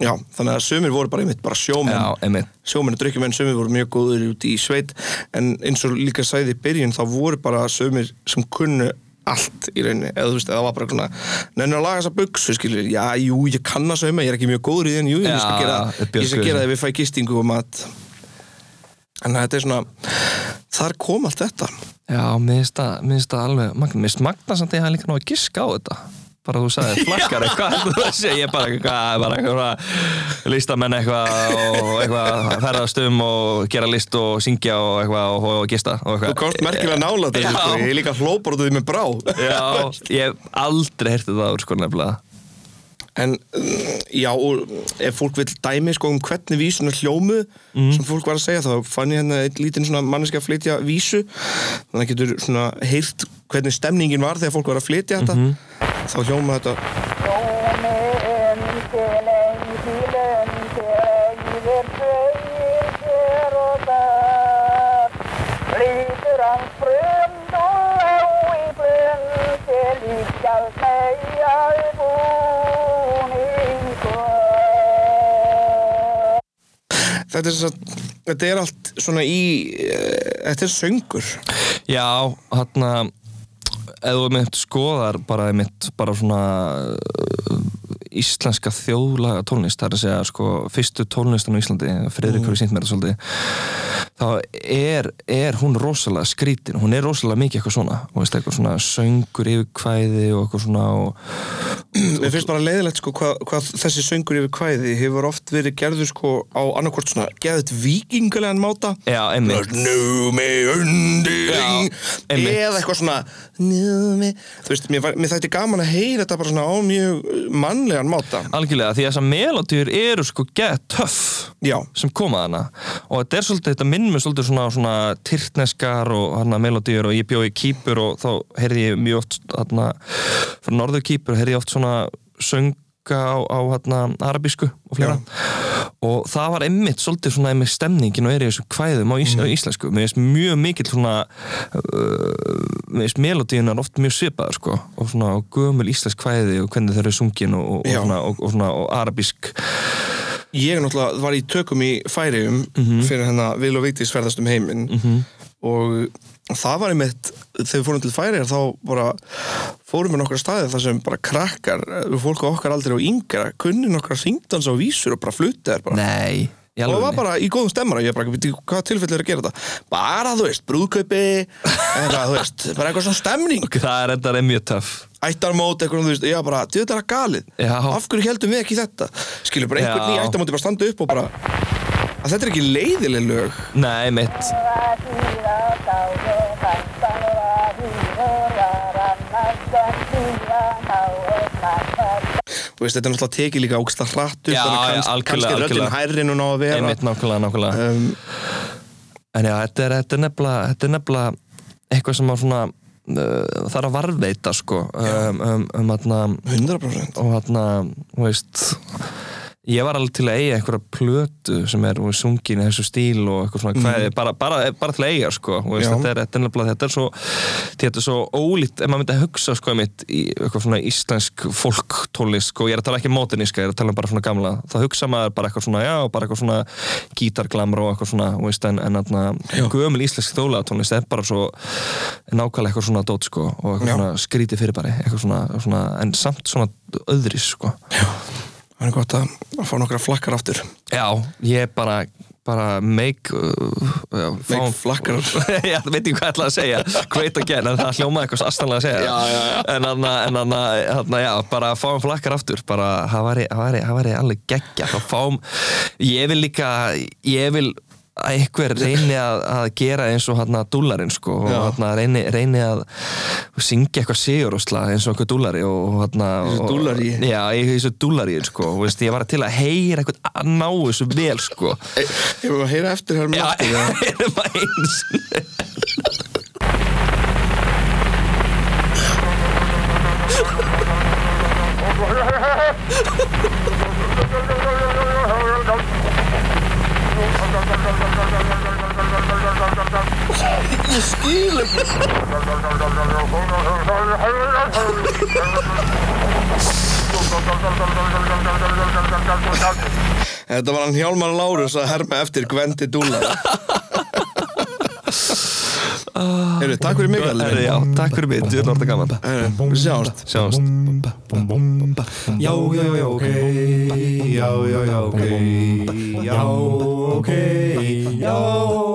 [SPEAKER 2] já, þannig að sömur voru bara einmitt bara sjómenn
[SPEAKER 1] já, einmitt
[SPEAKER 2] sjómenn og drykkjumenn, sömur voru mjög góður úti í sveit en eins og líka sagði í byrjun þá voru bara sömur sem kunnu allt í rauninni, eða þú veist, eða var bara svona nennir að laga þessa buksu, skilur, já, jú, ég kann að sauma, ég er ekki mjög góður í þenn, jú, ég
[SPEAKER 1] Já,
[SPEAKER 2] skal gera,
[SPEAKER 1] þetta björguðu
[SPEAKER 2] ég skal
[SPEAKER 1] þessu.
[SPEAKER 2] gera það ef ég fæ gistingu og mat en þetta er svona þar kom allt þetta
[SPEAKER 1] Já, minnst það, minnst það alveg magna, minnst magna samt að ég hafði líka náðu að giska á þetta bara þú sagði flakkar eitthvað þú veist, ég bara eitthvað, bara eitthvað listamenn eitthvað og eitthvað ferðast um og gera list og syngja og eitthvað og, og gista og
[SPEAKER 2] þú
[SPEAKER 1] eitthvað
[SPEAKER 2] komst merkilega nála
[SPEAKER 1] Já.
[SPEAKER 2] þetta, sko, ég er líka hlópar út af því með brá
[SPEAKER 1] Já, ég hef aldrei hertið það úr sko nefnilega
[SPEAKER 2] En mm, já, og ef fólk vil dæmi sko um hvernig vísunar hljómu sem fólk var að segja, þá fann ég hérna einn lítinn svona manneski að flytja vísu þannig að getur svona heyrt hvernig stemningin var þegar fólk var að flytja þetta þá hljóma þetta
[SPEAKER 4] Thank
[SPEAKER 2] þetta er, satt, þetta er allt svona í eh, þetta er söngur
[SPEAKER 1] Já, hann að ef þú mitt skoðar bara mitt bara svona uh, íslenska þjóðlaga tónlist það er að segja sko fyrstu tónlistan á Íslandi Friðrik hefur sínt mér það svolítið þá er, er hún rosalega skrítin hún er rosalega mikið eitthvað svona og veist eitthvað svona söngur yfir kvæði og eitthvað svona og,
[SPEAKER 2] Mér finnst bara leiðilegt sko hvað, hvað þessi söngur yfir kvæði hefur oft verið gerður sko á annarkvort svona geðut vikingulegan máta
[SPEAKER 1] já, einmitt
[SPEAKER 2] Nú mig undiring
[SPEAKER 1] Já, einmitt.
[SPEAKER 2] Eða eitthvað svona Nú mig Þú veist, mér, var- mér þætti gaman að heyra þetta bara svona á mjög eh, mannlegan máta
[SPEAKER 1] algjörlega því að þessar melodýr eru sko gett töff
[SPEAKER 2] Já,
[SPEAKER 1] sem koma þarna og þetta er svolítið, þetta minnum er svolítið svona, svona tyrkneskar og hana melodíur og ég bjóði í Kýpur og þá heyrði ég mjög oft hana, frá norður Kýpur heyrði ég oft svona sönga á, á hana, arabísku og fleira og það var einmitt svolítið svona einmitt stemningin og er í þessum kvæðum á, ís,
[SPEAKER 2] Mhm.
[SPEAKER 1] á íslensku mér finnst mjög mikill svona uh, mér finnst melodíunar oft mjög svipaður sko og svona og gömul íslensk kvæði og hvernig þau eru sungin og, og, og,
[SPEAKER 2] Já.
[SPEAKER 1] svona, og, og, svona, og arabísk
[SPEAKER 2] ég náttúrulega var í tökum í færium
[SPEAKER 1] Mhm.
[SPEAKER 2] Fyrir hennar Vil og Vigdís ferðast um heiminn Og það var einmitt Þegar við fórum til færiðar þá bara Fórum við nokkra staði þar sem bara krakkar eh, Fólk á okkar aldrei og yngra Kunni nokkra syngdans á vísur og bara flutta þær bara
[SPEAKER 1] nei í
[SPEAKER 2] og það var
[SPEAKER 1] alvörunni.
[SPEAKER 2] bara í góðum stemmar og ég bara, veit hvað tilfell er að gera þetta bara, þú veist, brúðkaupi eitthvað, þú veist, bara eitthvað svona stemning
[SPEAKER 1] Ok, það er endar mjög töff
[SPEAKER 2] ættarmót, eitthvað, þú veist, já bara, þetta er að galið
[SPEAKER 1] Já.
[SPEAKER 2] af hverju heldum við ekki þetta skilur bara einhvern
[SPEAKER 1] Já.
[SPEAKER 2] nýja ættarmóti bara standa upp og bara að þetta er ekki leiðileg lög
[SPEAKER 1] Nei, mitt
[SPEAKER 4] you.
[SPEAKER 2] þú veist, þetta er náttúrulega tekið líka ógsta hratt upp
[SPEAKER 1] Já,
[SPEAKER 2] þannig að
[SPEAKER 1] já,
[SPEAKER 2] kannski-
[SPEAKER 1] algjörlega,
[SPEAKER 2] kannski er
[SPEAKER 1] algjörlega.
[SPEAKER 2] röddinn hærri núna á að vera
[SPEAKER 1] Einmitt, nákvæmlega, nákvæmlega
[SPEAKER 2] um,
[SPEAKER 1] En já, þetta er, þetta er nefnilega Þetta er nefnilega eitthvað sem að svona uh, Það er að varðveita, sko um, um, um, atna,
[SPEAKER 2] 100%
[SPEAKER 1] Og þarna, þú veist Ég var alveg til að eiga einhverja plötu sem er þú veist, sungin í þessu stíl og eitthvað svona kvæði, bara, bara, bara til að eiga sko, þú veist,
[SPEAKER 2] Já.
[SPEAKER 1] þetta er, þetta er nefnilega þetta er svo, þetta er svo ólít ef maður myndi að hugsa sko mitt í eitthvað svona íslensk fólktólist sko, ég er að tala ekki mótiníska, ég er að tala um bara svona gamla þá hugsa maður bara eitthvað svona, já, bara eitthvað svona gítarglamur og eitthvað svona þú veist, en, en atna, gömul íslensk þjóðlagatónlist er bara svo nákvæmlega eitthvað svona dót sko og eitthvað
[SPEAKER 2] Já.
[SPEAKER 1] svona skrítið fyrirbæri, eitthvað svona, svona en samt svona öðris sko
[SPEAKER 2] það er gott að, að fá nokkra flakkar aftur
[SPEAKER 1] Já, ég bara bara make uh, já,
[SPEAKER 2] Make
[SPEAKER 1] fá-
[SPEAKER 2] flakkar.
[SPEAKER 1] já, það veit ég hvað ég ætlaði að segja great again, en það hljómaði eitthvað astanlega að segja
[SPEAKER 2] Já, já, já.
[SPEAKER 1] en hann, en hann, hann já, bara fáum flakkar aftur bara, það væri, það væri, það væri alveg geggja þá fáum, ég vil líka ég vil að einhver reyni að, að gera eins og hann að dúlarinn sko og
[SPEAKER 2] Já.
[SPEAKER 1] hann að reyni, reyni að syngja eitthvað sigurúsla eins og eitthvað dúlari og hann að
[SPEAKER 2] Þessu dúllari.
[SPEAKER 1] já, í þessu dúlari sko, og veist, ég var til að heyra eitthvað að ná þessu vel sko
[SPEAKER 2] ég, ég vil að heyra eftir hér með
[SPEAKER 1] já,
[SPEAKER 2] aftur, já.
[SPEAKER 1] erum að eins
[SPEAKER 2] ég skil Þetta var hann Hjálmar Lárus að herma eftir Gvendi Dúlar Heyrðu, takk fyrir mig Gvendi
[SPEAKER 1] Herri, já, takk fyrir mig, djúðan orða gaman
[SPEAKER 2] Heyrðu, Við sjáumst
[SPEAKER 1] Sjáumst
[SPEAKER 3] Já, já, já, ok, já, já, já, ok, já, ok, já, ok.